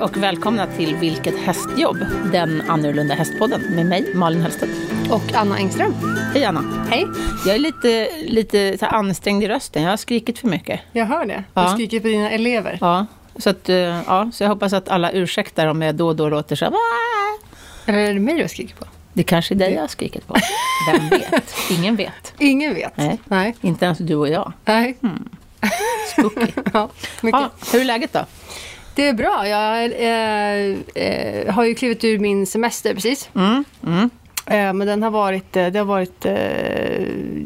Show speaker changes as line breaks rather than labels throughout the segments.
och välkomna till Vilket hästjobb? Den annorlunda hästpodden med mig, Malin Hellstedt.
Och Anna Engström.
Hej Anna.
Hej.
Jag är lite, lite så här ansträngd i rösten, jag har skrikit för mycket.
Jag hör det.
Ja.
Du skriker på dina elever.
Ja, så, att, eh, ja, så jag hoppas att alla ursäktar om jag då och då låter så här. "Wah!"
Eller är det mig du skriker på?
Det kanske är dig jag har skrikit på. Vem vet? Ingen vet.
Ingen vet.
Nej.
Nej.
Inte ens du och jag.
Nej.
Spooky.
Ja, mycket.
Ja, hur är läget då?
Det är bra. Jag eh, eh, har ju klivit ur min semester precis.
Mm, mm.
Eh, men den har varit... Eh, det har varit eh,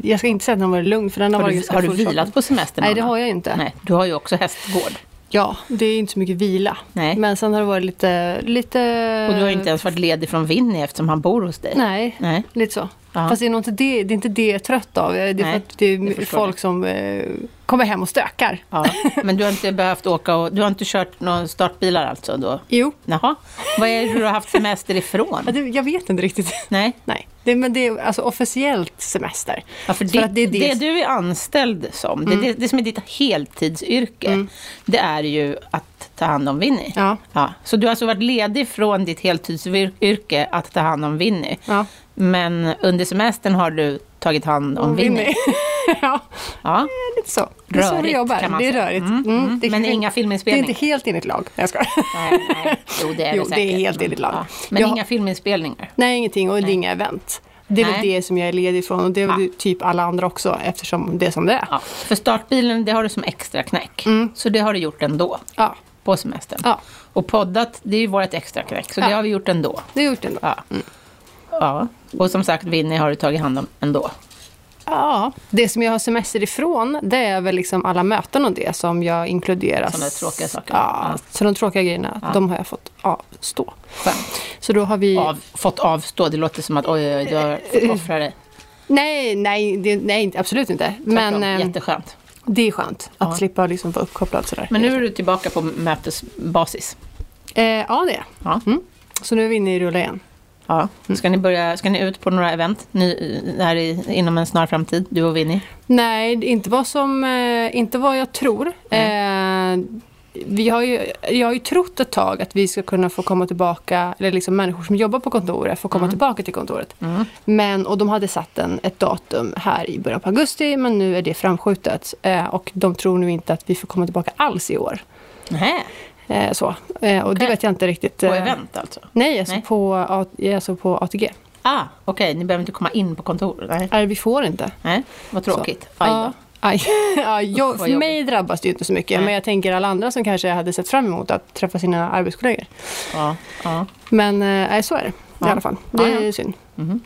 jag ska inte säga att den har varit lugn, för den har,
Har,
varit
du,
ganska
har du
fullsjokad.
vilat på semestern?
Nej, det
Anna?
har jag ju inte.
Nej, du har ju också hästgård.
Ja, det är ju inte så mycket vila.
Nej.
Men sen har det varit lite... lite
Och du har ju inte ens varit ledig från Winnie eftersom han bor hos dig.
Eh. Nej,
Nej.
Lite så.
Ja.
Fast det är, nog inte det, det är inte det jag är trött av. Det är, för
Nej,
att det
jag
är
förstår
folk som eh, kommer hem och stökar.
Ja. Men du har inte behövt åka och du har inte kört några startbilar alltså då?
Jo,
Jaha. Vad är det du har haft semester ifrån?
ja, det, jag vet inte riktigt.
Nej,
Nej, det, men det är alltså officiellt semester.
ja, för,
För
ditt,
att
det,
det Mm. är det-
du är anställd som, det, det, det som är ditt heltidsyrke, det är ju att ta hand om Winnie.
Mm. Ja,
Ja. Så du har alltså varit ledig från ditt heltidsyrke att ta hand om Winnie.
ja.
Men under semestern har du tagit hand om Winnie.
ja,
Ja.
det är lite så. Det är så vi
Rörigt,
jobbar.
kan man
det är
säga.
rörigt.
Mm, mm.
det är
Men
kanske-
inga
Det är
filminspelningar.
inte helt enligt lag. Jag skojar.
Nej, nej. Jo, det är
Jo,
det
det är
säkert.
helt enligt lag.
Men
Jag-
inga filminspelningar.
Nej, ingenting. Och det är inga event. Det är väl
Nej.
det som jag är ledig ifrån och det är väl typ alla andra också eftersom det är som det är.
Ja, för startbilen, det har du som extra knäck. Så det har du gjort ändå,
Ja,
på semestern.
Mm. Ja.
Och poddat, det är ju vårt extra knäck, så det
Ja. Mm.
har vi gjort ändå.
det har jag gjort ändå.
Ja. ja. Och som sagt, Winnie har du tagit hand om ändå.
Ja, det som jag har semester ifrån det är väl liksom alla möten och det som jag inkluderas.
Såna tråkiga saker.
Ja,
Ja.
så de tråkiga grejerna, de har jag fått avstå.
Skönt.
Så då har vi...
Av, fått avstå, det låter som att oj, oj, oj, du
Eh,
har fått offra dig.
Nej, nej, det, nej, inte- absolut inte.
Tvärtom,
Men eh,
Jätteskönt.
det är skönt att
Ja.
slippa liksom vara uppkopplad sådär.
Men nu är du tillbaka på mötesbasis.
Eh, ja, det är
Ja.
mm. Så nu är vi inne i rulla igen.
Ja. Mm. Ska, ni börja, ska ni ut på några event ny, här i, inom en snar framtid, du och Winnie?
Nej, det- inte vad, som, eh, inte vad jag tror. Eh, vi har ju, jag har ju trott ett tag att vi ska kunna få komma tillbaka, eller liksom människor som jobbar på kontoret får
Mm.
komma tillbaka till kontoret. Men, och de hade satt en, ett datum här i början på augusti, men nu är det framskjutet. Eh, och de tror nu inte att vi får komma tillbaka alls i år.
Nej.
Eh, så. Eh, och
Okej.
det vet jag inte riktigt.
På
eh,
event alltså?
Nej, alltså,
Nej.
På, A- alltså på ATG.
Ah, okej, ni behöver inte komma in på kontoret? Nej,
Nej, vi får inte.
Nej. vad tråkigt. Aj
Ja.
då.
Aj. Ja, jag,
vad
för mig drabbas det ju inte så mycket,
Nej.
men jag tänker alla andra som kanske hade sett fram emot att träffa sina arbetskollegor.
Ja, ja.
Men eh, nej, så är det
Ja.
i alla fall. Det
Ja,
är
ja.
synd.
Mhm.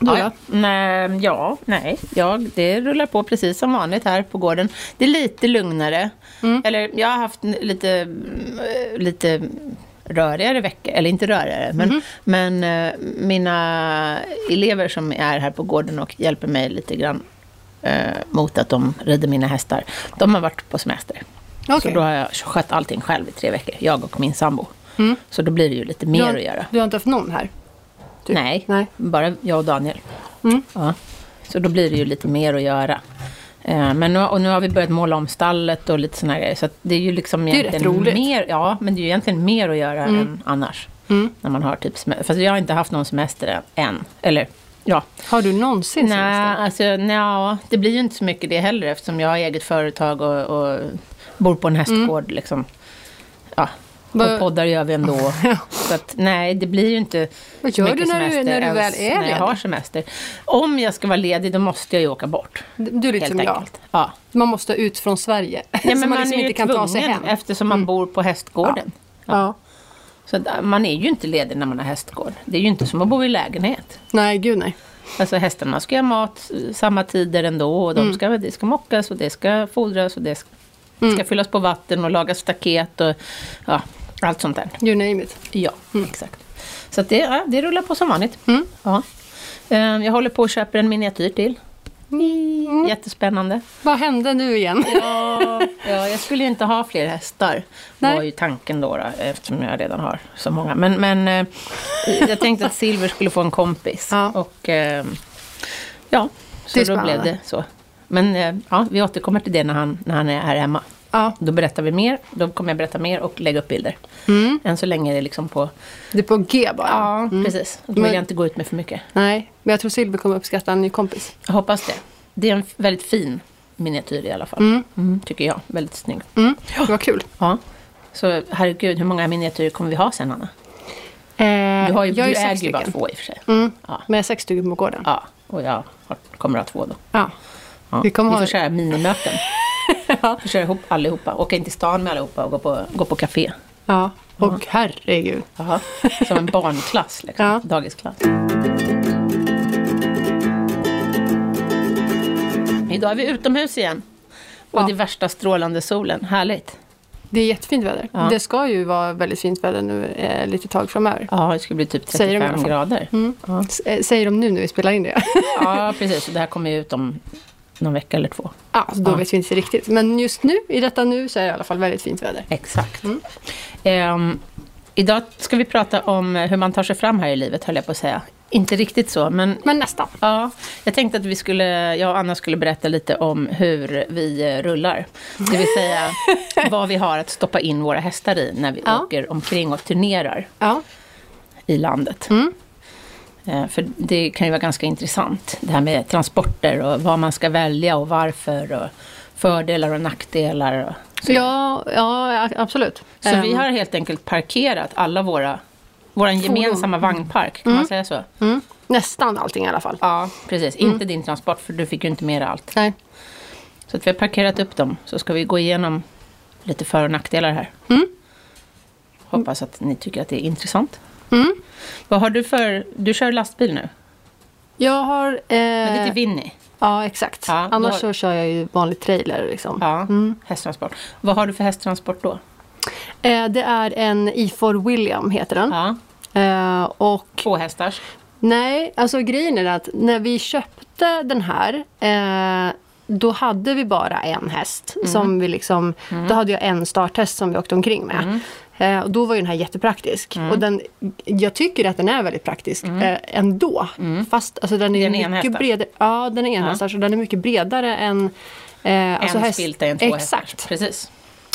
Du
Ja,
då?
ja. Nej, ja, nej. Jag, det rullar på precis som vanligt här på gården. Det är lite lugnare.
Mm.
Eller jag har haft n- lite, mm, eh, lite rörigare veckor. Eller inte rörigare, men,
Mm-hmm.
men eh, mina elever som är här på gården och hjälper mig lite grann eh, mot att de rider mina hästar. De har varit på semester.
Okej.
Så då har jag skött allting själv i tre veckor, jag och min sambo. Så då blir det ju lite mer
Mm. du, har,
att göra.
du har inte haft någon här? du?
Nej,
Nej.
bara jag och Daniel.
Mm.
Ja. Så då blir det ju lite mer att göra. Eh, Men nu, och nu har vi börjat måla om stallet och lite sådana grejer. Så att det är ju liksom
är ju
egentligen
rätt roligt. Mm.
mer, ja, men det är ju egentligen mer att göra än annars. När man har typ semester. Fast jag har inte haft någon semester än- än. Eller, ja.
Har du någonsin
Nej,
semester?
alltså, nja, det blir ju inte så mycket det heller eftersom jag har eget företag och, och bor på en hästgård. Liksom. Ja.
Mm. Vad-
Och poddar gör vi ändå. så att, nej, det blir ju inte
Vad gör
mycket
du när du-
semester
när du väl
ens
är
när jag
ledig?
har semester. Om jag ska vara ledig, då måste jag ju åka bort.
Du är lite som
Helt
jag.
enkelt. Ja.
Man måste ut från Sverige.
Ja,
så
men
man,
man
liksom
är ju
inte kan ta sig
tvungen
hem. Mm.
eftersom man bor på hästgården.
Ja.
Så att, äh, man är ju inte ledig när man har hästgård. Det är ju inte som att bo i lägenhet.
Nej, gud nej.
Alltså hästarna ska ha mat eh, samma tider ändå och de ska, det ska mockas och det ska fodras och det ska, ska fyllas på vatten och lagas staket och ja, allt sånt där.
You name it.
Ja, exakt. Så att det, ja, det rullar på som vanligt.
Mm.
Ja. Ehm, Jag håller på och köper en miniatyr till. Jättespännande.
Mm. Vad hände nu igen?
Ja, ja, jag skulle ju inte ha fler hästar.
Nej.
var ju tanken då, då, eftersom jag redan har så många. Men, men eh, jag tänkte att Silver skulle få en kompis.
Ja.
Och eh, ja, så
Det är
då blev
spännande.
det så. Men eh, ja, vi återkommer till det när han, när han är här hemma.
Ja.
Då berättar vi mer, då kommer jag berätta mer och lägga upp bilder. Än så länge är det liksom på...
Det Mm. är på G bara.
Ja, precis. Och Då vill
Men-
jag inte gå ut med för mycket.
Nej, men jag tror Silver kommer uppskatta en ny kompis.
Jag hoppas det. Det är en f- väldigt fin miniatyr i alla fall.
Mm.
Mm, tycker jag. Väldigt snygg.
Mm. Det var kul.
Ja. Så herregud, hur många miniatyrer kommer vi ha sen, Anna?
Eh,
Du, har ju,
jag är
du
sex
äger ju bara
stycken.
två i och för sig.
Mm.
Ja.
Men jag är sex stycken på gården.
Ja, och jag har, kommer att ha två då.
Ja.
Ja.
Vi kommer
vi
ha-
får köra minimöten.
Ja.
Vi kör ihop allihopa. Åka in till stan med allihopa och gå på, gå på café.
ja. Och herregud.
Jaha. Som en barnklass, liksom.
Ja.
dagisklass. Idag är vi utomhus igen. Och
Ja.
det är värsta strålande solen. Härligt.
Det är jättefint väder.
Ja.
Det ska ju vara väldigt fint väder nu eh, lite tag framöver.
Ja, det skulle bli typ
Säger de i alla
35
fall.
grader.
Mm.
Ja.
S- eh, Säger de nu när vi spelar in det.
ja, precis. Och det här kommer ju ut om någon vecka eller två.
ja, så då
Ja.
vet vi inte riktigt. Men just nu, i detta nu, så är det i alla fall väldigt fint väder.
Exakt. Ehm, idag ska vi prata om hur man tar sig fram här i livet, höll jag på att säga. Inte riktigt så, men
Men nästan.
ja, jag tänkte att vi skulle, jag och Anna skulle berätta lite om hur vi eh, rullar. Det vill säga vad vi har att stoppa in våra hästar i när vi
Ja.
åker omkring och turnerar
Ja.
i landet.
Mm.
Eh, För det kan ju vara ganska intressant, det här med transporter och vad man ska välja och varför och fördelar och nackdelar. Och så
Ja, ja, a- absolut.
Så
Ehm,
vi har helt enkelt parkerat alla våra, vår
Fordon.
gemensamma vagnpark, kan man säga så?
mm, nästan allting i alla fall.
Ja, precis.
Mm.
Inte din transport, för du fick ju inte med dig allt.
Nej.
Så att vi har parkerat upp dem, så ska vi gå igenom lite för och nackdelar här.
Mm.
Hoppas att ni tycker att det är intressant.
Mm.
Vad har du för, du kör lastbil nu,
Jag har... Eh,
men det är till Vinny.
ja, exakt.
Ja, då
Annars
har-
så kör jag ju vanlig trailer. Liksom.
Ja,
Mm.
hästtransport. Vad har du för hästtransport då?
Eh, det är en E4 William, heter den.
Ja,
Eh, och
två hästars.
Nej, alltså grejen är att när vi köpte den här eh, då hade vi bara en häst. Som vi liksom, Då hade jag en starthäst som vi åkte omkring med.
Mm.
Eh, och då var ju den här jättepraktisk. Och den, jag tycker att den är väldigt praktisk eh, ändå.
Mm.
Fast alltså, den är,
Den är
ju mycket
enhästars.
bredare. Ja, den är enhästars och den är mycket bredare än eh, alltså
en
häst-
spilt är en två
Exakt.
Precis.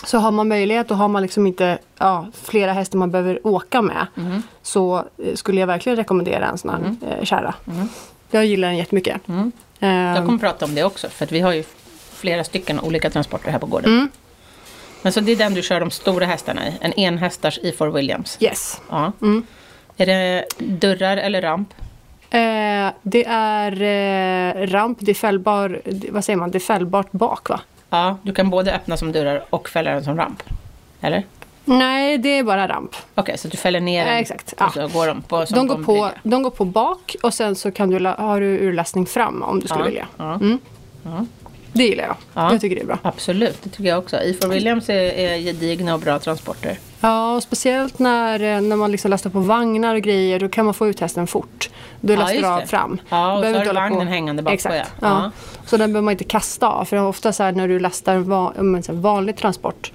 Så har man möjlighet och har man liksom inte ja, flera hästar man behöver åka med
Mm.
så eh, skulle jag verkligen rekommendera en sån här eh, kärra.
Mm.
Jag gillar den jättemycket. Ehm,
Jag kommer prata om det också, för att vi har ju flera stycken olika transporter här på
Mm.
gården. Men så det är den du kör de stora hästarna i, en enhästars E4 Williams.
Yes. Mm.
Ja. Är det dörrar eller ramp?
Eh, det är eh, ramp, det är fällbar, det- vad säger man, det är fällbart bak va?
Ja, du kan både öppna som dörrar och fälla den som ramp. Eller? Okej,
Nej, det är bara ramp.
så att du fäller ner den
Eh, exakt. Ja.
och så går de på som
De går,
en
på,
brygga.
de går på bak och sen så kan du, la- har du urlastning fram om du skulle
Ja,
vilja.
ja.
Mm.
Ja.
Det gillar jag.
Ja.
Jag tycker det är bra.
Absolut, det tycker jag också. E4 Williams är, är gedigna och bra transporter.
Ja, och speciellt när, eh, när man liksom lastar på vagnar och grejer, då kan man få ut hästen fort. Då lastar
just
du av
det.
fram.
Ja, och
Behöver
så har
inte
du
hålla på-
vagnen hängande bak på,
Exakt.
ja. Ja.
Ja. Så den behöver man inte kasta av, för ofta så här, när du lastar en va- om en sån här vanlig transport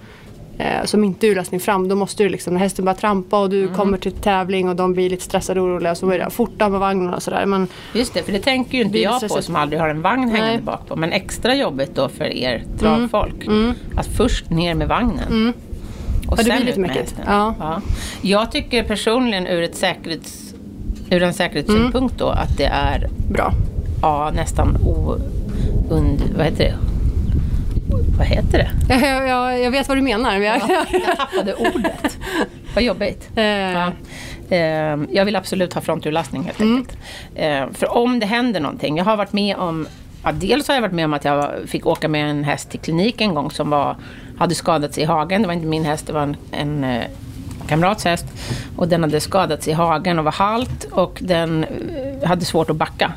eh, som inte är urlastning fram, då måste du liksom, när hästen bara trampa och du
Mhm.
kommer till tävling och de blir lite stressade och oroliga, så är det fort av med vagnen och sådär. Men
Just det, för det tänker ju inte
Bilstress-
jag på som aldrig har en vagn hängande
Nej. Mm.
bak på. Men extra jobbigt då för er travfolk. Att först ner med vagnen. Och
Ja, det
sen
blir lite
ut med
mäckigt.
hästen.
Ja.
Jag tycker personligen ur, ett säkerhets, ur en säkerhetssynpunkt då att det är
bra.
ja, nästan o... Und, vad heter det? Vad heter det?
Jag, jag, jag vet vad du menar. Men jag,
Jag tappade ordet. Vad jobbigt.
Eh,
Ja. Ehm, Jag vill absolut ha fronturlastning helt enkelt. Ehm, För om det händer någonting. Jag har varit med om Ja, dels har jag varit med om att jag fick åka med en häst till klinik en gång som var, hade skadats i hagen. Det var inte min häst, det var en, en eh, kamrats häst. Och den hade skadats i hagen och var halt och den eh, hade svårt att backa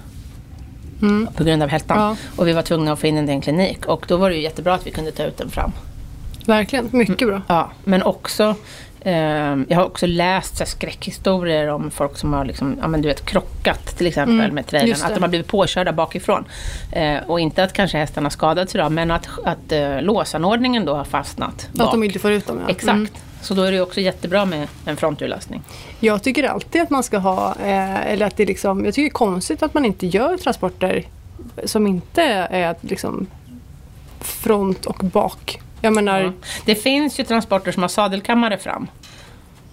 på grund av hältan.
Ja.
Och vi var tvungna att få in den till en klinik och då var det ju jättebra att vi kunde ta ut den fram.
Verkligen, mycket bra.
Ja, men också ehm, jag har också läst så här, skräckhistorier om folk som har liksom, ja, men du vet, krockat till exempel med trailern.
Mm, just det.
Att de har blivit påkörda bakifrån. Eh, och inte att kanske hästarna har skadats idag, men att, att eh, låsanordningen då har fastnat bak.
Att de inte Mm. får ut dem. Ja.
Exakt. Så då är det ju också jättebra med en fronturlastning.
Jag tycker alltid att man ska ha, eh, eller att det är liksom, jag tycker det är konstigt att man inte gör transporter som inte är liksom front och bak Jag menar,
Ja. Det finns ju transporter som har sadelkammare fram.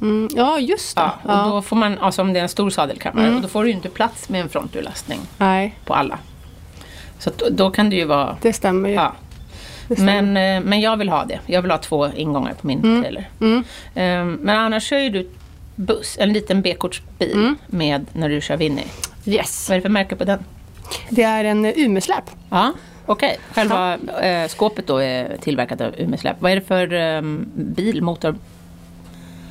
mm, ja just det.
Ja, och
Ja. Mm.
Då får man, alltså om det är en stor sadelkammare, och då får du ju inte plats med en fronturlastning
Nej,
på alla. Så att då, då kan det ju vara...
det stämmer ju.
Ja.
Det stämmer.
Men, eh, men jag vill ha det. Jag vill ha två ingångar på min trailer.
Mm.
Eh, Men annars kör ju du buss, en liten B-kortsbil
Mm.
med när du kör Winnie.
Yes.
Vad är det för märke på den?
Det är en eh, Umesläp.
Ja, okej. Själva eh, skåpet då är tillverkat av Umesläpp. Vad är det för eh, bil, motor?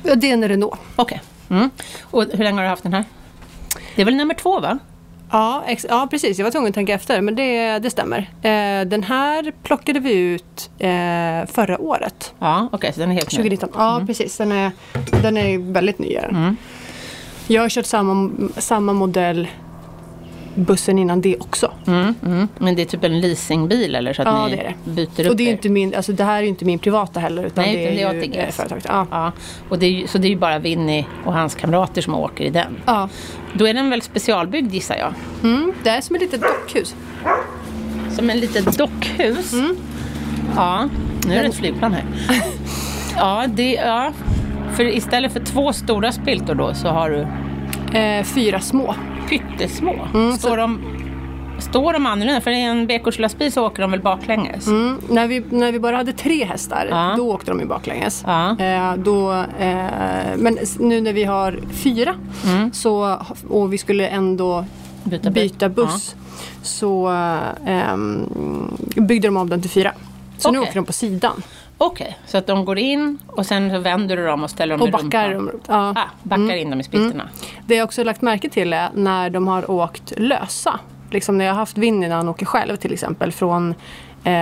Ja, Det är en Renault.
Okej. Mm. Och hur länge har du haft den här? Det är väl nummer två va?
Ja, ex- ja, precis. Jag var tvungen att tänka efter, men det, det stämmer. Eh, den här plockade vi ut eh, förra året,
Ja, okej. så den är helt ny.
2019. Ja,
Mm.
precis. Den är, den är väldigt ny. är den. Jag har kört samma, samma modell bussen innan det också.
Mm, mm. Men det är typ en leasingbil eller så att
Ja,
ni
det är
byter upp
Och det, är ju
er?
inte min, alltså, det här är ju inte min privata heller, utan
Nej,
det
utan det är
är ju
ATG:s.
eh, företaget. Ja.
Ja, och det är ju, så det är ju bara Winnie och hans kamrater som åker i den.
Ja.
Då är den väl specialbyggd gissar jag?
Mm, det är som ett litet dockhus.
Som en litet dockhus.
Mm.
Ja, nu är det ett flygplan här. ja, det, ja, för istället för två stora spiltor då så har du
Eh, fyra små.
pyttesmå.
Mm,
står, de, står de annorlunda? För i en bekorslastbil så åker de väl baklänges?
Mm, när, vi, när vi bara hade tre hästar,
Ja.
då åkte de ju baklänges.
Ja.
Eh, då, eh, men s- nu när vi har fyra
Mm.
så, och vi skulle ändå
Byta bil.
byta buss så ehm, byggde de om den till fyra. Så nu
Okej.
åker de på sidan
Okej, så att de går in och sen så vänder du dem och ställer dem
och
i rumpan.
backar. Mm. om- Ja.
Ah, backar in dem i splitterna.
Det jag också lagt märke till är när de har åkt lösa. Liksom när jag har haft Winnie när han åker själv till exempel. Från, eh,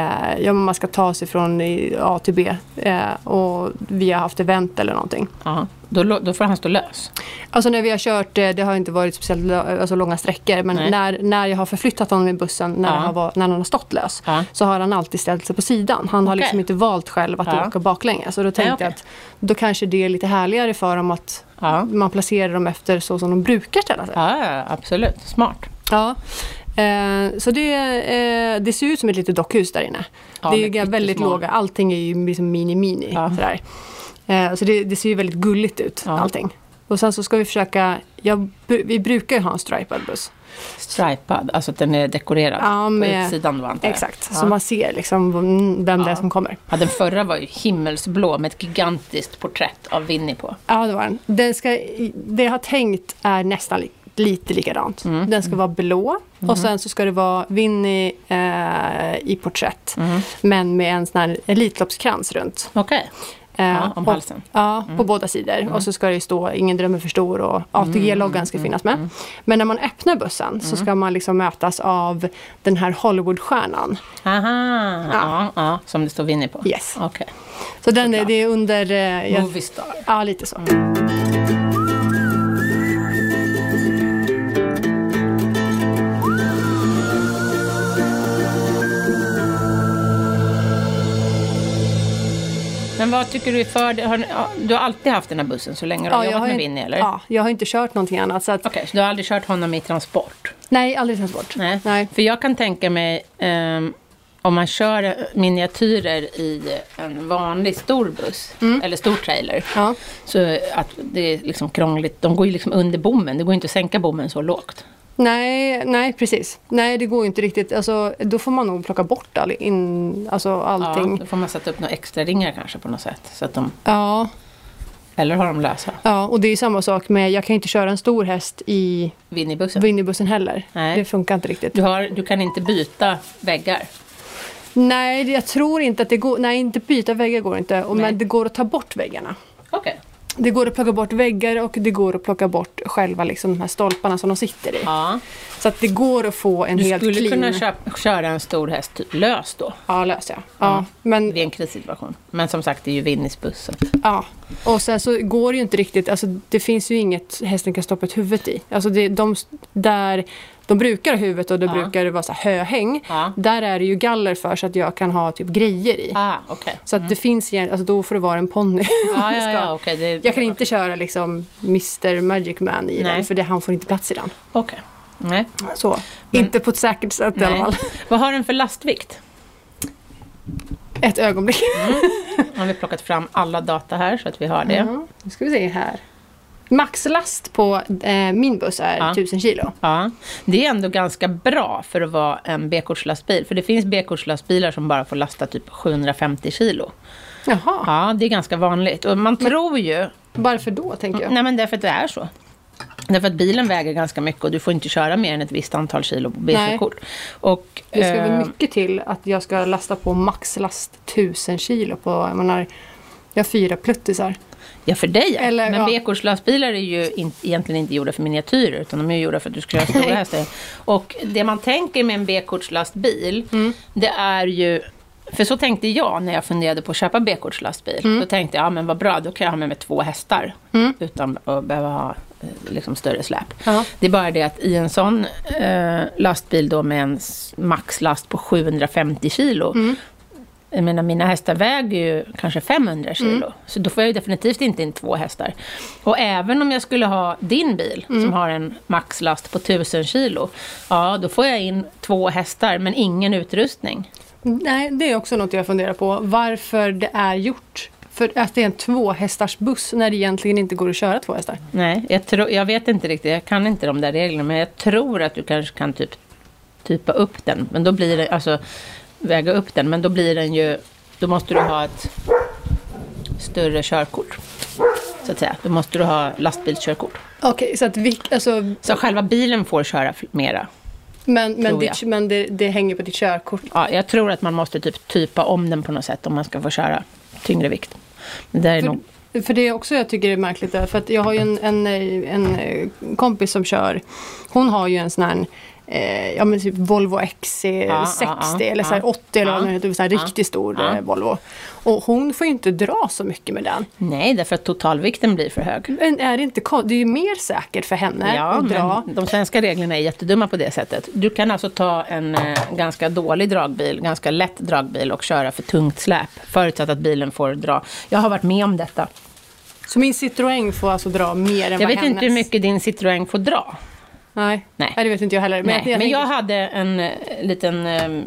ja, men man ska ta sig från i- A till B eh, och vi har haft event eller någonting.
Ja, då, lå- då får han stå lös.
Alltså när vi har kört, eh, det har inte varit speciellt lö- alltså långa sträckor, men
Nej.
när, när jag har förflyttat honom i bussen när,
Ja.
han, har, var- när han har stått lös
Ja.
så har han alltid ställt sig på sidan. Han har
Okej.
liksom inte valt själv att
Ja.
åka baklänges. Så då tänkte jag
okej.
att då kanske det är lite härligare för dem att
Ja.
man placerar dem efter så som de brukar ställa sig.
Ja, ja, absolut. Smart.
Ja. Eh, så det, eh, det ser ut som ett litet dockhus där inne.
Ja,
det är ju
men
ga- väldigt
pyttesmå.
låga, allting är ju liksom mini-mini.
Ja.
Sådär. Eh, så det, det ser ju väldigt gulligt ut,
Ja.
allting. Och sen så ska vi försöka, jag, br- vi brukar ju ha en stripad buss.
Stripad, alltså att den är dekorerad
Ja,
på
med-
utsidan då antar jag.
Exakt,
Ja.
så man ser liksom vem det
Ja.
är som kommer.
Ja, den förra var ju himmelsblå med ett gigantiskt porträtt av Winnie på.
Ja, det var den. den ska, det jag har tänkt är nästan li, lite likadant.
Mm.
Den ska vara blå och sen så ska det vara Winnie eh, i porträtt. Men med en sån här Elitloppskrans runt.
Okej,
Eh,
ja, om
och-
halsen. Mm.
Ja, på båda sidor. Och så ska det ju stå Ingen dröm är för stor och
Mm,
ATG-loggan ska finnas med. Men när man öppnar bussen så ska man liksom mötas av den här Hollywoodstjärnan.
Aha, ja. Ja, som det står Winnie på.
Yes.
Okej,
Så den är, det är under... Eh, jag,
movie star.
ja, lite
Mm.
så.
Men vad tycker du är för det? Har, ni- ja, du har alltid haft den här bussen så länge du har
Ja,
jobbat med
ju-
Winnie eller?
Ja, jag har inte kört någonting annat. Så att,
Okej, så du har aldrig kört honom i transport?
Nej, aldrig transport.
Nej.
Nej.
För jag kan tänka mig ehm, om man kör miniatyrer i en vanlig stor buss
Mm.
eller stor trailer.
Ja.
Så att det är liksom krångligt. De går ju liksom under bommen. Det går ju inte att sänka bommen så lågt.
Nej, nej, precis. Nej, det går ju inte riktigt. Alltså, då får man nog plocka bort all in, alltså,
Ja,
allting.
då får man sätta upp några extra ringar kanske på något sätt. Så att de,
Ja.
eller har de lösa?
ja, och det är samma sak med, jag kan inte köra en stor häst i
Vinn i bussen.
Winniebussen heller.
Nej.
Det funkar inte riktigt.
Du, har, du kan inte byta väggar.
Nej, det- jag tror inte att det går. Nej, inte byta väggar går inte. Och,
Nej.
men det går att ta bort väggarna.
Okej.
Det går att plocka bort väggar och det går att plocka bort själva liksom, de här stolparna som de sitter i.
Ja.
Så att det går att få en
Du
helt
skulle
clean...
kunna köp, köra en stor häst typ lös då.
Ja, lös ja. ja. Men
Vid en krissituation. Men som sagt, det är ju Vinnies buss. så att-
Ja, och sen så går det ju inte riktigt, alltså det finns ju inget hästen kan stoppa ett huvud i. Alltså det, de, där de brukar ha huvudet och det
Ja.
brukar det vara så här höhäng,
Ja.
där är det ju galler för så att jag kan ha typ grejer i.
Ah, okej.
Så att det finns igen, alltså då får det vara en ponny.
Ja,
om det
ja,
ska.
ja, okej. det-
Jag kan inte köra liksom Mr Magic Man i
Nej.
den för det, han får inte plats i den.
Okej. Nej.
Så. Inte på ett säkert sätt i alla
Nej.
fall.
Vad har den för lastvikt?
Ett ögonblick.
Nu har vi plockat fram alla data här så att vi har det.
Ja, nu ska vi se här. Maxlast på eh, min buss är
Ja.
1000 kilo.
Ja, det är ändå ganska bra för att vara en B-kortslastbil. För det finns B-kortslastbilar som bara får lasta typ 750 kilo.
Jaha,
Ja, det är ganska vanligt. Och man tror ju...
varför då tänker jag?
Nej, men därför att det är så. Därför att bilen väger ganska mycket och du får inte köra mer än ett visst antal kilo på B-körkort. Och,
Det ska väl
eh,
mycket till att jag ska lasta på maxlast 1000 kilo på, jag menar, jag har fyra pluttisar.
Ja, för dig. ja.
Eller,
men
ja.
B-kortslastbilar är ju in, egentligen inte gjorda för miniatyrer, utan de är ju gjorda för att du ska köra stora
Nej.
hästar. Och det man tänker med en B-kortslastbil,
Mm.
det är ju... För så tänkte jag när jag funderade på att köpa B-kortslastbil.
Mm.
Då tänkte jag, ja men vad bra, då kan jag ha med mig två hästar. Utan att behöva ha eh, liksom, större släp.
Ja.
Det är bara det att i en sån eh, lastbil då med en s- maxlast på 750 kilo,
Mm.
jag menar, mina hästar väger ju kanske 500 kilo. Så då får jag ju definitivt inte in två hästar. Och även om jag skulle ha din bil, som har en maxlast på 1000 kilo. Ja, då får jag in två hästar, men ingen utrustning.
Nej, det är också något jag funderar på. Varför det är gjort. För att det är en tvåhästars buss när det egentligen inte går att köra två hästar.
Nej, jag, tror, jag vet inte riktigt. Jag kan inte de där reglerna. Men jag tror att du kanske kan typ typa upp den. Men då blir det, alltså väga upp den. Men då blir den ju, då måste du ha ett större körkort. Så att säga. Då måste du ha lastbilskörkort.
Okej, så att vi, alltså,
Så själva bilen får köra fl- mera?
men, men,
Tror
ditt, men det, det hänger på ditt körkort.
Ja, jag tror att man måste typ typa om den på något sätt om man ska få köra tyngre vikt. Men Det är nog...
För, för det är också jag tycker är märkligt. där, För att jag har ju en, en, eh, en eh, kompis som kör. Hon har ju en sån här eh, ja, men typ
Ah,
Volvo XC60
Ja, ja, ja,
eller så här
ja.
80 eller vad
Ja.
den heter. Så här
Ja.
riktigt stor
Ja.
eh, Volvo. Och hon får ju inte dra så mycket med den.
Nej, därför att totalvikten blir för hög.
Men är det inte kon- Det är ju mer säkert för henne
Ja,
att dra.
men de svenska reglerna är jättedumma på det sättet. Du kan alltså ta en eh, ganska dålig dragbil, ganska lätt dragbil och köra för tungt släp. Förutsatt att bilen får dra. Jag har varit med om detta.
Så min Citroën får alltså dra mer än
Jag
vad
vet
hennes.
inte hur mycket din Citroën får dra.
Nej.
Nej.
Nej. det vet inte jag heller. Men,
Nej,
jag, jag
men
tänker-
jag hade en eh, liten, eh,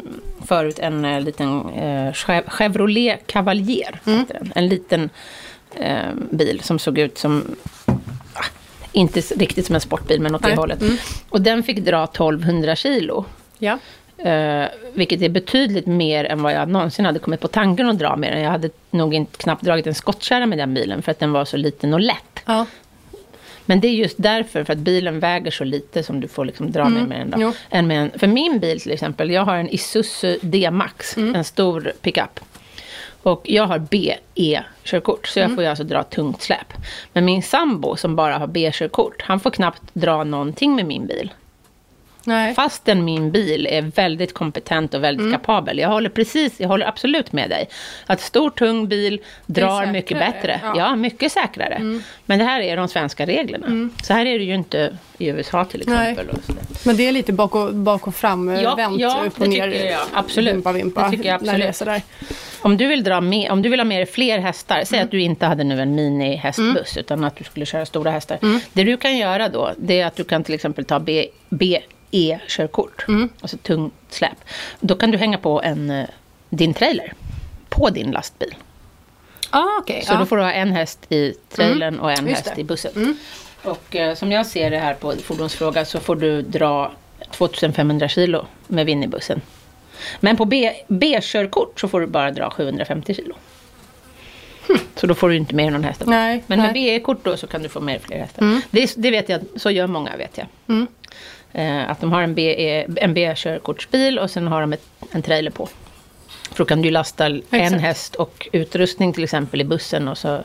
förut en eh, liten eh, Chev- Chevrolet Cavalier.
Mm.
hette Den. En liten eh, bil som såg ut som, ah, inte s- riktigt som en sportbil men åt det
Nej. Mm.
hållet. Och den fick dra 1200 kilo.
Ja.
Eh, vilket är betydligt mer än vad jag någonsin hade kommit på tanken att dra med den. Jag hade nog inte, knappt dragit en skottkärra med den bilen för att den var så liten och lätt.
Ja.
Men det är just därför, för att bilen väger så lite som du får liksom dra med med den. Då.
jo.
Än med en, för min bil till exempel, jag har en Isuzu D-Max, en stor pickup. Och jag har BE-körkort, så jag får ju alltså dra tungt släp. Men min sambo som bara har B-körkort, han får knappt dra någonting med min bil.
Nej. Mm.
Fastän min bil är väldigt kompetent och väldigt kapabel. Jag håller precis, jag håller absolut med dig. Att stor tung bil drar
säkrare,
mycket bättre. Ja,
ja. Mm.
mycket säkrare. Men det här är de svenska reglerna. Så här är det ju inte i USA till
Nej.
exempel. och sådär.
Men det är lite bak och, bak och fram, eh,
Ja,
vänt,
ja,
upp
det
och ner.
tycker jag. Absolut.
Vimpa, vimpa.
Det tycker jag
När det är
absolut.
sådär.
Om du vill, dra med, om du vill ha med dig fler hästar,
Mm.
säg att du inte hade nu en mini-hästbuss, utan att du skulle köra stora hästar.
Mm.
Det du kan göra då, det är att du kan till exempel ta B, BE-körkort,
Mm.
alltså tungt släp. Då kan du hänga på en, eh, din trailer på din lastbil.
Ah, okej.
Så
ja. Mm.
då får du ha en häst i trailern och en
Just
häst
det. Mm.
i bussen. Och eh, som jag ser det här på fordonsfråga så får du dra 2500 kilo med Winnie-bussen. Men på B- B-körkort så får du bara dra 750 kilo. Så då får du inte med dig någon häst.
Hm. Nej,
Men med
nej. Mm.
B-kort då så kan du få med dig fler hästar. Det, är- det vet jag, så gör många vet jag. Eh, att de har en, BE, en B-körkortsbil och sen har de ett, en trailer på. För då kan du ju lasta en
Exakt.
häst och utrustning till exempel i bussen och så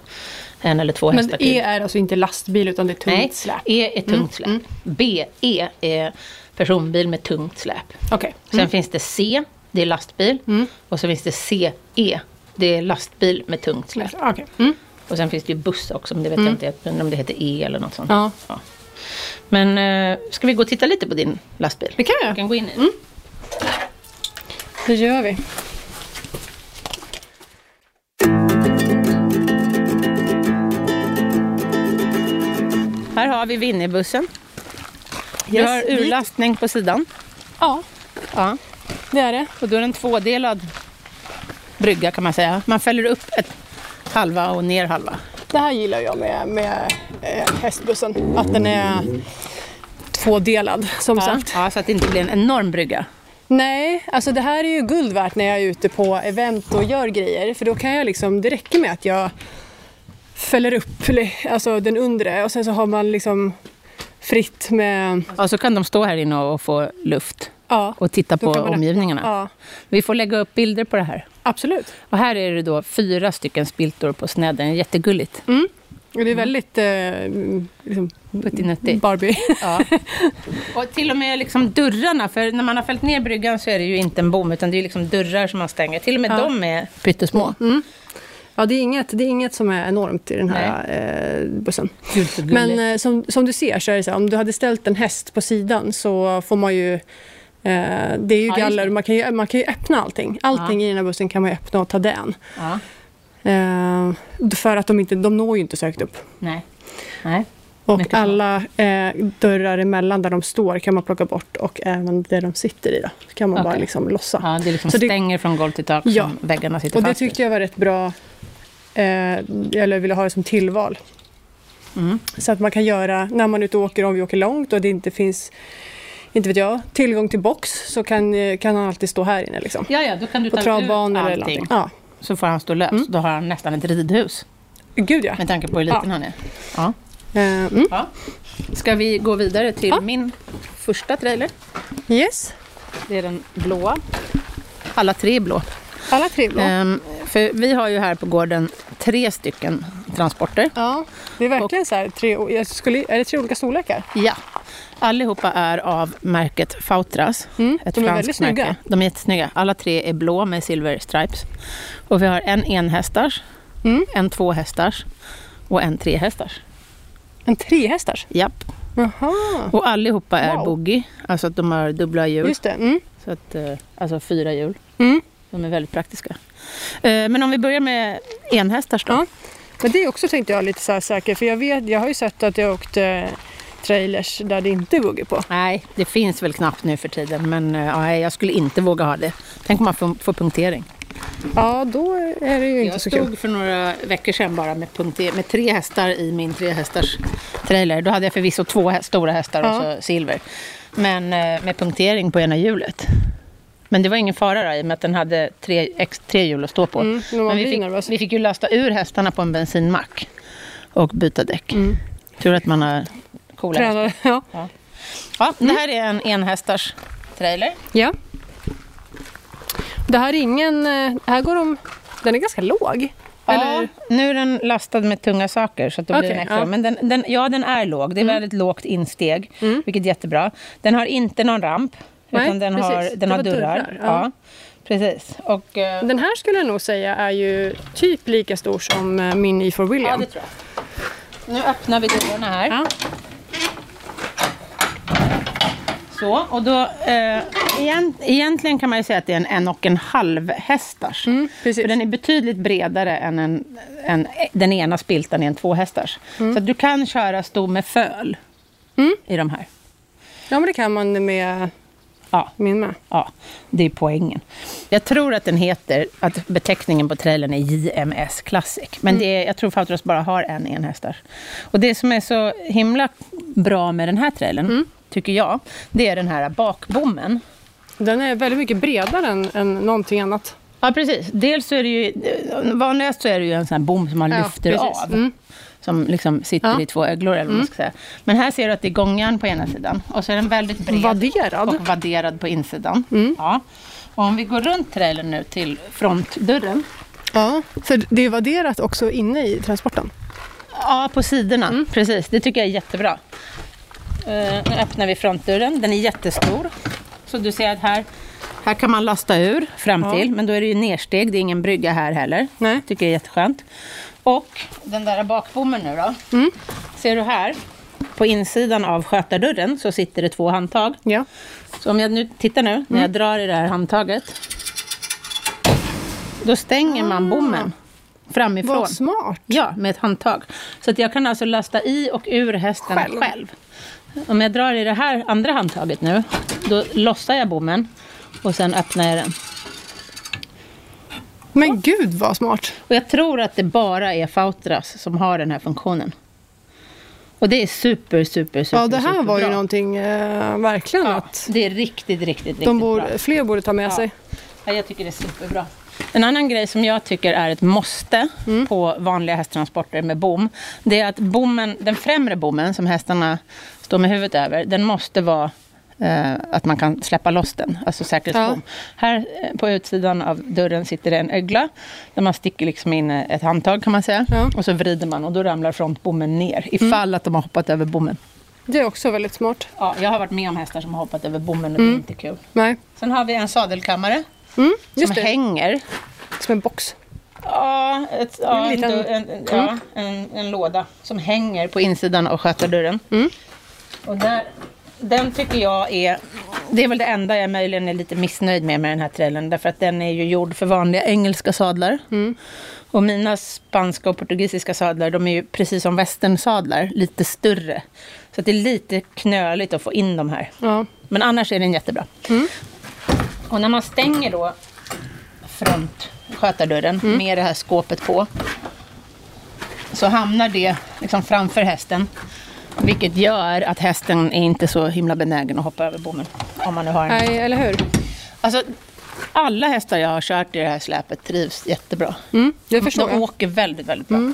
en eller två
Men
hästar till.
E är alltså inte lastbil utan det är tungt
Nej,
släp? Mm,
E är tungt släp. B, E är personbil med tungt släp.
E- Okej.
Sen finns det C, det är lastbil.
Mm.
Och så finns det CE, det är lastbil med tungt släp.
Okej. Mm.
Och sen finns det ju buss också, men det vet jag inte men om det heter E eller något sånt.
Ja.
Ja. Men eh, ska vi gå och titta lite på din lastbil?
Det kan vi
Vi
göra.
kan gå in i den.
Det gör vi.
Här har vi Winnebussen. Du
Yes,
har
vi-
urlastning på sidan.
Ja,
Ja.
det är det.
Och då är den tvådelad. brygga kan man säga. Man fäller upp ett halva och ner halva.
Det här gillar jag med, med eh, hästbussen, att den är tvådelad som
Ja,
sagt.
ja, så att det inte blir en enorm brygga.
Nej, alltså det här är ju guld värt när jag är ute på event och gör grejer för då kan jag liksom, det räcker med att jag fäller upp li- alltså den undre och sen så har man liksom fritt med,
Ja, så kan de stå här inne och få luft
ja,
och titta
Då
på
kan man-
omgivningarna.
ja
Vi får lägga upp bilder på det här.
absolut.
Och här är det då fyra stycken spiltor på snedden. Jättegulligt.
Mm. Och det är väldigt eh, liksom
Puttinuttigt.
Barbie.
Ja. Och till och med liksom dörrarna, för när man har fällt ner bryggan så är det ju inte en bom, utan det är ju liksom dörrar som man stänger. Till och med
Ja. Mm.
de är Mm. pyttesmå.
Ja, det är, inget, det är inget som är enormt i den här eh, bussen.
Gud, så gulligt.
Men eh, som, som du ser så är det så här, om du hade ställt en häst på sidan så får man ju Eh, det är ju
Ja, just
galler,
det.
man kan ju, man kan ju öppna allting. Allting i den här bussen kan man ju öppna och ta den.
ja.
Eh, för att de, inte, de når ju inte så högt upp.
Nej. Nej.
Och
Mycket smart.
alla eh, dörrar emellan där de står kan man plocka bort och även där de sitter i då, kan man bara
Okej.
liksom lossa.
Ja, det är liksom
Så det-
stänger från golv till tak
Ja.
som väggarna sitter
Och det
fast i.
tyckte jag var rätt bra, eh, eller ville ha det som tillval.
Mm.
Så att man kan göra, när man är ute och åker, om vi åker långt och det inte finns, inte vet jag, tillgång till box så kan, eh, kan han alltid stå här inne liksom.
Ja, ja, då kan du
På
ta ut
travbanor eller
allting.
någonting. Mm. Ja.
Så får han stå lös. Då har han nästan ett ridhus,
Gud ja.
med tanke på hur liten
Ja.
han är. Ja.
Eh, mm.
Ja. Ska vi gå vidare till
Ja.
min första trailer?
Yes,
Det är den blåa. Alla tre är blå.
alla tre blå.
Ehm, för vi har ju här på gården tre stycken transporter.
Ja, det är verkligen så här, tre, o- jag skulle, är det tre olika storlekar?
Ja. Allihopa är av märket Fautras.
Mm,
Ett
de är
franskt
väldigt snygga.
Märke. De är jättesnygga. Alla tre är blå med silver stripes. Och vi har en enhästars,
Mm.
en tvåhästars och en trehästars.
En trehästars?
Japp.
Jaha,
Och allihopa är
Wow.
boogie, alltså att de har dubbla hjul.
just det. Mm.
Så att, eh, alltså fyra hjul.
Mm.
De är väldigt praktiska. Eh, Men om vi börjar med enhästars då.
Ja. Men det också tänkte jag lite så här säker, för jag, vet, jag har ju sett att jag åkte trailers där det inte är boogie på.
Nej, det finns väl knappt nu för tiden, men eh, nej, jag skulle inte våga ha det. Tänk om man får, får punktering.
Ja, då är det ju inte
Jag
så kul.
stod för några veckor sedan bara med, punkter, med tre hästar i min trehästars trailer. Då hade jag förvisso två hä- stora hästar
Ja.
och så silver. Men eh, med punktering på ena hjulet. Men det var ingen fara då, i och med att den hade tre, ex, tre hjul att stå på.
Mm, men man
men vi
blir
fick,
nervös.
vi fick ju lasta ur hästarna på en bensinmack och byta däck. Tur att man har coola hästar.
Mm. Tränare, ja.
Ja, det här är en enhästars trailer.
ja. Det här är ingen... eh, Här går de... Den är ganska låg.
Eller?
Eller?
Nu är den lastad med tunga saker, så att då blir
Okej,
den extra.
ja. Mm.
Men den, den, ja, den är låg. Det är väldigt lågt insteg, vilket är jättebra. Den har inte någon ramp,
Nej,
utan den har,
precis.
den
Det
har
var
dörrar.
dörrar,
ja.
ja. Mm.
precis. Och, eh,
Den här skulle jag nog säga är ju typ lika stor som eh, min E4
ja,
William.
det tror jag. Nu öppnar vi dörrarna här.
Ja.
Så, och då, eh, egent, egentligen kan man ju säga att det är en en och en halv hästars.
Mm, precis.
För den är betydligt bredare än en, en, den ena spiltan i en tvåhästars. Så att du kan köra stor med föl
Mm.
i de här.
ja, men det kan man med
Ja,
min med.
ja, det är poängen. Jag tror att den heter, att beteckningen på trailern är JMS Classic. Men det är, jag tror Fautros bara har en enhästar. Och det som är så himla bra med den här trailern, tycker jag, det är den här bakbommen.
Den är väldigt mycket bredare än, än någonting annat.
Ja, precis. Dels så är det ju, vanligast så är det ju en sån här bom som man
Ja,
lyfter
precis.
av.
Mm.
Som liksom sitter
Ja. Mm.
i två öglor, eller vad man ska säga. Men här ser du att det är gångjärn på ena sidan. Och så är den väldigt bred.
Vadderad? Mm.
Och vadderad på insidan. Ja. Och om vi går runt trailern nu till frontdörren.
Ja, för det är vadderat också inne i transporten.
Ja, på sidorna.
Mm.
Precis, det tycker jag är jättebra. Eh, nu öppnar vi frontdörren. Den är jättestor. Så du ser att här, här kan man lasta ur fram till. Men då är det ju nersteg, det är ingen brygga här heller.
Nej.
tycker jag är jätteskönt. Och den där bakbommen nu då.
Mm.
Ser du här? På insidan av skötardörren så sitter det två handtag.
Ja.
Så om jag nu tittar nu, när jag
Mm.
drar i det här handtaget. Då stänger man bommen framifrån.
Ah. Vad smart.
Ja, med ett handtag. Så att jag kan alltså lasta i och ur hästen själv.
Själv.
Om jag drar i det här andra handtaget nu, då lossar jag bommen och sen öppnar jag den.
Men gud vad smart.
Och jag tror att det bara är Fautras som har den här funktionen. Och det är super, super, super,
Ja, det här var ju
superbra.
någonting eh, verkligen
Ja,
att
det är riktigt, riktigt, riktigt
de bor,
bra.
fler borde ta med
Ja.
sig.
Ja, jag tycker det är superbra. En annan grej som jag tycker är ett måste på vanliga hästtransporter med bom, det är att bommen, den främre bommen som hästarna står med huvudet över, den måste vara eh, att man kan släppa loss den, alltså säkerhetsbom. Här eh, på utsidan av dörren sitter det en ögla, där man sticker liksom in eh, ett handtag kan man säga,
Ja.
och så vrider man och då ramlar frontbommen ner, ifall att de har hoppat över bommen.
Det är också väldigt smart.
Ja, jag har varit med om hästar som har hoppat över bommen och det är inte kul.
Nej,
Sen har vi en sadelkammare
mm, just
som
det.
hänger
Som en box.
Ja, ett, ja,
En
en,
liten-
dörr- en, en, ja en, en låda som hänger på insidan av skötardörren.
Mm.
Och där, den tycker jag är... Det är väl det enda jag möjligen är lite missnöjd med med den här trällen. Därför att den är ju gjord för vanliga engelska sadlar.
Mm.
Och mina spanska och portugisiska sadlar, de är ju precis som västernsadlar, lite större. Så att det är lite knöligt att få in de här.
Ja.
Men annars är den jättebra.
Mm.
Och när man stänger då frontskötardörren
Mm.
med det här skåpet på så hamnar det liksom framför hästen. Vilket gör att hästen är inte så himla benägen att hoppa över bommen. Om man nu har en.
Nej, eller hur?
Alltså, alla hästar jag har kört i det här släpet trivs jättebra.
Mm, det förstår
De
jag.
åker väldigt, väldigt bra.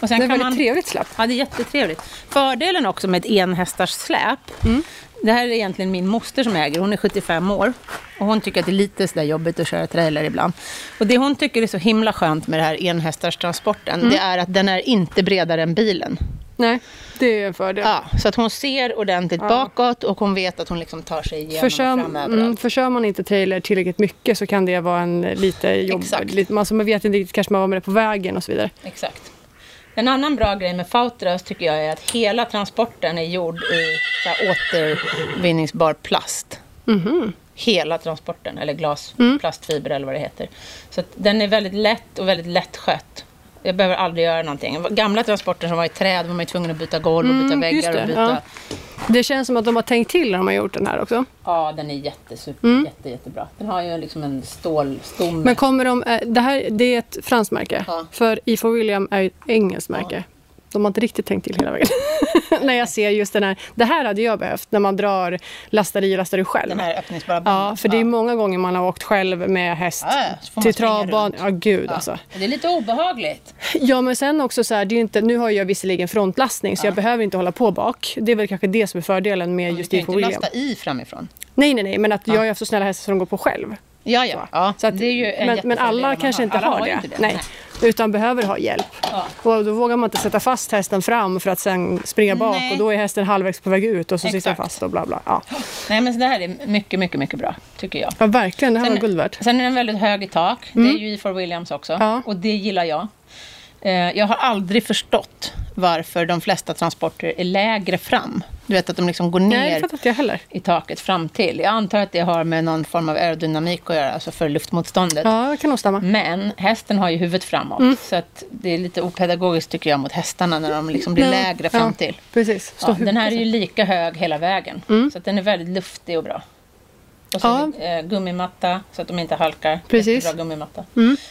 Och sen
Det
kan
är väldigt
man...
trevligt släpp.
Ja, det är jättetrevligt. Fördelen också med ett enhästars släp, det här är egentligen min moster som äger, hon är 75 år. Och hon tycker att det är lite sådär jobbigt att köra trailer ibland. Och det hon tycker är så himla skönt med det här enhästarstransporten, det är att den är inte bredare än bilen.
Nej, det är en fördel.
Ja, så att hon ser ordentligt bakåt och hon vet att hon liksom tar sig igenom och
Försör,
fram överallt.
mm, försör man inte trailer tillräckligt mycket så kan det vara en eh, lite jobb...
Exakt.
Lite, man, som man vet inte riktigt kanske man var med det på vägen och så vidare.
Exakt. En annan bra grej med Fautras tycker jag är att hela transporten är gjord i så här återvinningsbar plast.
Mhm.
Hela transporten, eller glas,
Mm.
plastfiber eller vad det heter. Så att den är väldigt lätt och väldigt lättskött. Jag behöver aldrig göra någonting. Gamla transporter som var i träd var man ju tvungen att byta golv och byta
Mm, just
väggar
det,
och byta...
ja.
Ja.
Det känns som att de har tänkt till när de har gjort den här också.
den är jättesuper, jätte, jättebra. Den har ju liksom en stålstomme.
Mm. Men kommer de... eh, Det här det är ett franskt märke.
Ja.
För IFO William är ju ett engelskt märke. De har inte riktigt tänkt till hela vägen. när jag ser just den här... Det här hade jag behövt när man drar, lastar i och lastar ur själv.
Den här öppningsbara
Ja, för det är många gånger man har åkt själv med häst
Mm. Ja, ja, så får man
till
springa
travbanan.
runt.
Ja, gud
Ja.
alltså.
Det är lite obehagligt.
Ja, men sen också så här, det är ju inte, nu har jag visserligen frontlastning så jag behöver inte hålla på bak. Det är väl kanske det som är fördelen med
Du
just
kan ju
IFO
inte
William.
lasta i framifrån.
Nej, nej, nej, men att jag har ju haft så snälla hästar som de går på själv.
Ja, ja. ja.
Så att,
det är ju en
men, men
jättefördel om
alla
man
kanske inte
alla
har,
ju
det.
inte
Nej. Utan behöver ha hjälp.
Ja.
Och då vågar man inte sätta fast hästen fram för att sen springa bak
Nej.
och då är hästen halvvägs på väg ut och så sitter den
Exakt.
fast och bla bla. Ja,
Nej, men så det här är mycket, mycket, mycket bra, tycker jag.
ja verkligen. Det här
Sen-
var guld värt. Mm.
Sen är den väldigt hög i tak. Det är ju E4 Williams också.
Ja.
Och det gillar jag. Eh, Jag har aldrig förstått varför de flesta transporter är lägre fram. Du vet att de liksom går ner
Nej, det fattar inte jag heller.
i taket fram till. Jag antar att det har med någon form av aerodynamik att göra, alltså för luftmotståndet.
Ja, Mm. det kan nog stämma.
Men hästen har ju huvudet framåt, så att det är lite opedagogiskt tycker jag mot hästarna när de liksom blir
Ja.
lägre fram till.
Ja, precis. Stå
Ja, den här är
huvudet.
ju lika hög hela vägen. Så att den är väldigt luftig och bra. Och så
Mm. Ja.
eh, gummimatta så att de inte halkar.
Precis. Mm.
Jättebra gummimatta.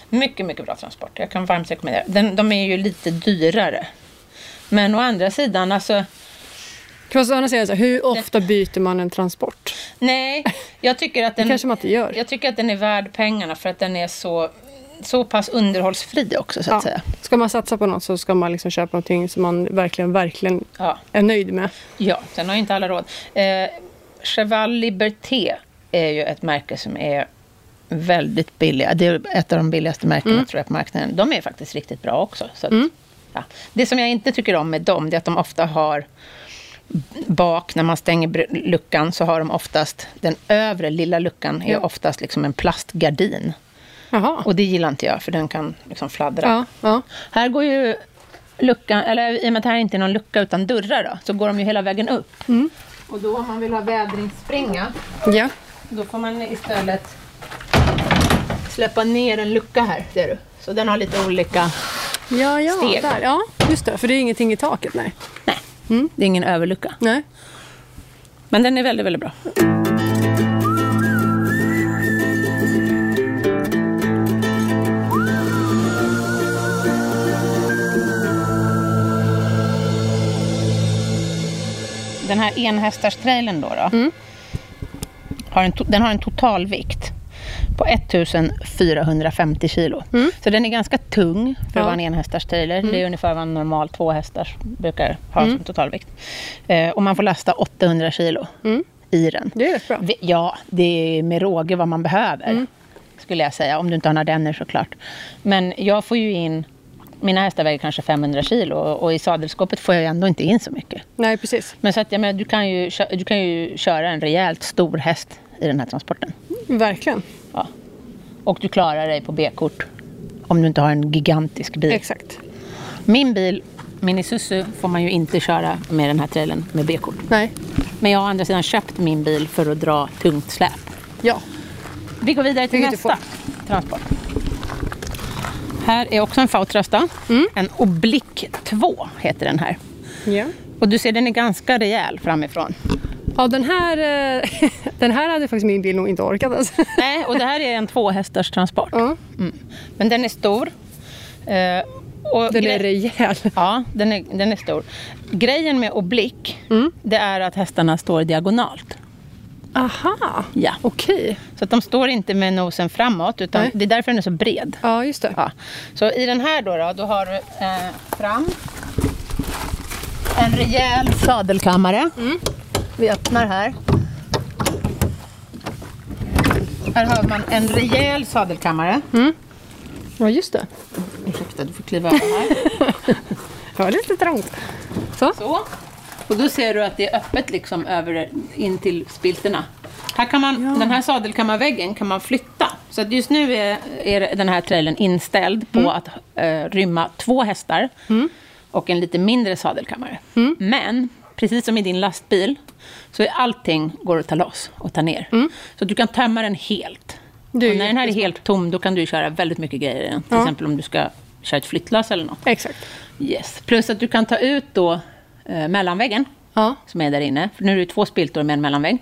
Mycket, mycket bra transport. Jag kan varmt rekommendera. Den, de är ju lite dyrare. Men å andra sidan, alltså
Fast å andra sidan, så här, hur ofta byter man en transport?
nej. Jag tycker att
Det
den,
kanske man inte gör.
jag tycker att den är värd pengarna för att den är så, så pass underhållsfri också så att säga.
Ska man satsa på något så ska man liksom köpa någonting som man verkligen, verkligen
Ja.
är nöjd med.
Ja, sen har ju inte alla råd. Eh, Cheval Liberté är ju ett märke som är väldigt billiga. Det är ett av de billigaste märkena
Mm.
tror jag på marknaden. De är faktiskt riktigt bra också. Så att, ja. Det som jag inte tycker om med dem, det är att de ofta har bak, när man stänger br- luckan, så har de oftast, den övre lilla luckan är
Ja.
oftast liksom en plastgardin.
Jaha.
Och det gillar inte jag, för den kan liksom fladdra.
Ja, ja.
Här går ju luckan, eller i och med att det här inte är någon lucka utan dörrar då, så går de ju hela vägen upp. Och då om man vill ha vädringsspringa,
ja.
då får man istället släppa ner en lucka här, ser du. Så den har lite olika...
Ja, ja,
Steg.
där. ja, just det. För det är ingenting i taket, nej.
Nej, det är ingen överlucka.
nej.
Men den är väldigt, väldigt bra. här enhästars-trailern då, då
Mm.
har en, to- den har en totalvikt på 1450 kilo. Så den är ganska tung för
Mm. Ja. Mm.
att vara en enhästars trailer. Det är ungefär vad en normal tvåhästars brukar ha som totalvikt. Eh, och man får lasta 800 kilo i den.
Mm. Det är rätt bra. Mm.
Vi- Ja, det är med råge vad man behöver. Skulle jag säga, om du inte har några denner såklart. Men jag får ju in... Mina hästar väger kanske 500 kilo och och i sadelskåpet får jag ju ändå inte in så mycket.
Nej, precis.
Men så att, jag menar, du, kan ju, kö- du kan ju köra en rejält stor häst i den här transporten.
Verkligen.
Ja. Och du klarar dig på B-kort om du inte har en gigantisk bil.
Exakt.
Min bil, min Isuzu, får man ju inte köra med den här trailern med B-kort.
Nej.
Men jag har å andra sidan köpt min bil för att dra tungt släp.
Ja.
Vi går vidare till
Vilket du
nästa transport. Här är också en Fautrasta. En Oblick 2 heter den här.
Ja.
Och du ser, den är ganska rejäl framifrån.
Ja, den här, eh, den här hade faktiskt min bil nog inte orkat ens.
Nej, och det här är en tvåhästars transport.
Ja.
Mm. Men den är stor. Eh, och
Den
gre-
är rejäl.
Ja, den är, den är stor. Grejen med oblick,
Mm.
det är att hästarna står diagonalt.
Aha.
Ja.
Okej.
Så att de står inte med nosen framåt, utan
Oh. Nej.
det är därför den är så bred.
Ja, just det.
Ja. Så i den här då, då, då har du eh, fram en rejäl sadelkammare.
Mm.
Vi öppnar här. Här har man en rejäl sadelkammare.
Mm. Ja, just det.
Ursäkta, du får kliva över här.
Det var lite trångt. Så.
Så. Och då ser du att det är öppet liksom över, in till spilterna. Här kan man, Den här sadelkammarväggen kan man flytta. Så att just nu är, är den här trailern inställd på
Mm.
att eh, rymma två hästar och en lite mindre sadelkammare.
Mm.
Men, precis som i din lastbil, så är allting går att ta loss och ta ner. Så att du kan tömma den helt.
Mm. Det är
och
ju
när den här är helt tom, då kan du köra väldigt mycket grejer i den. Till exempel om du ska köra ett flyttlass eller något.
Exakt.
Yes. Plus att du kan ta ut då eh, mellanväggen
Ja.
som är där inne. För nu är det två spiltor med en mellanvägg.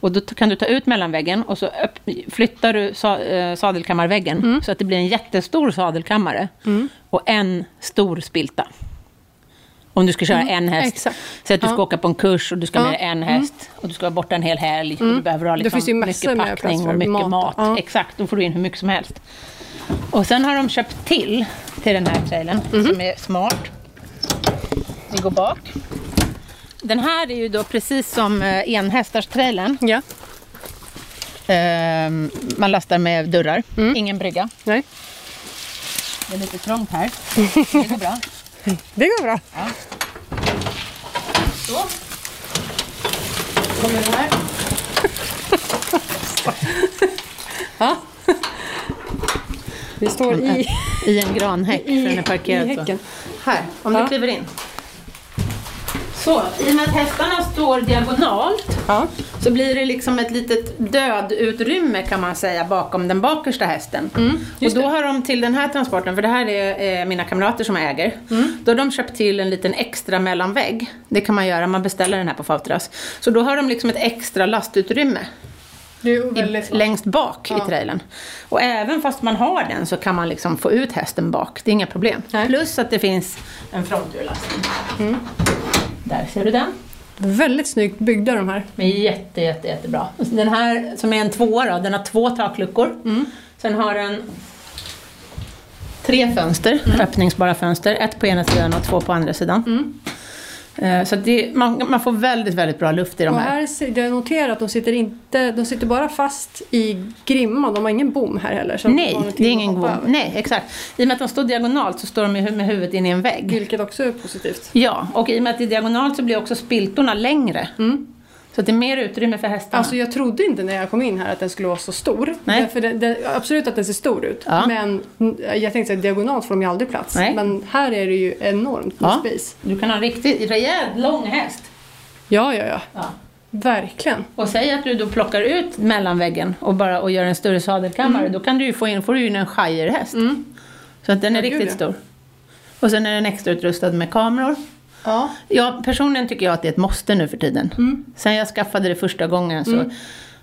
Och då t- kan du ta ut mellanväggen och så öpp- flyttar du sa- eh, sadelkammarväggen
Mm.
så att det blir en jättestor sadelkammare och en stor spilta. Om du ska köra en häst.
Mm. exakt.
Så att du ska åka på en kurs och du ska
Ja. Mm.
med en häst och du ska vara borta en hel helg och du behöver ha
Då
liksom
finns det ju massor
mycket
med
packning
plats för
och mycket
mat.
mat.
Ja.
Exakt, då får du in hur mycket som helst. Och sen har de köpt till till den här trailern
Mhm.
som är smart. Vi går bak. Den här är ju då precis som eh, enhästars-trailern.
Ja.
Ehm, Man lastar med dörrar,
Mm.
ingen brygga.
Nej.
Det är lite trångt här. Det går bra.
Det går bra.
Så. Kommer den här.
Vi står i,
I en granhäck, för den är
i
parkerad så.
häcken.
Här, om
Ja.
du kliver in. Så, i och med att hästarna står diagonalt
Ja.
så blir det liksom ett litet dödutrymme kan man säga bakom den bakersta hästen. och då har de till den här transporten, för det här är eh, mina kamrater som äger, då har de köpt till en liten extra mellanvägg. Det kan man göra, man beställer den här på Fautras. Så då har de liksom ett extra lastutrymme
Det är ju
i,
väldigt smart.
längst bak i trailern. Och även fast man har den så kan man liksom få ut hästen bak, det är inga problem.
Nej.
Plus att det finns en fronturlastning. Där ser du den.
Väldigt snyggt byggda de här.
Men jätte, jätte, jättebra. Och Den här som är en tvåa då, den har två takluckor.
Mm.
Sen har den tre fönster,
Mm.
öppningsbara fönster. Ett på ena sidan och två på andra sidan. Eh, Så att det, man, man får väldigt, väldigt bra luft i de
Och
här.
här ser- jag noterar att de sitter, inte, de sitter bara fast i grimman. De har ingen bom här heller. Så de har
Nej,
någonting
det är
att
ingen
hoppa
god...
över.
Nej, exakt. I och med att de står diagonalt så står de ju med huvudet in i en vägg.
Vilket också är positivt.
Ja, och i och med att det är diagonalt så blir också spiltorna längre. Så att det är mer utrymme för hästarna.
Mm. Alltså jag trodde inte när jag kom in här att den skulle vara så stor.
Nej.
Därför den, den, absolut att den ser stor ut.
Ja.
Men mm, jag tänkte att diagonalt får de ju aldrig plats.
Nej.
Men här är det ju enormt med
ja.
space.
Du kan ha en riktigt rejält lång häst.
Ja, ja, ja.
Ja.
Verkligen.
Och säg att du då plockar ut mellanväggen och, bara, och gör en större sadelkammare, då kan du ju få in, får du in en shirehäst. Så att den är
Ja, gud,
riktigt
ja.
stor. Och sen är den extra utrustad med kameror.
Ja.
Ja, personligen tycker jag att det är ett måste nu för tiden. Sen jag skaffade det första gången så,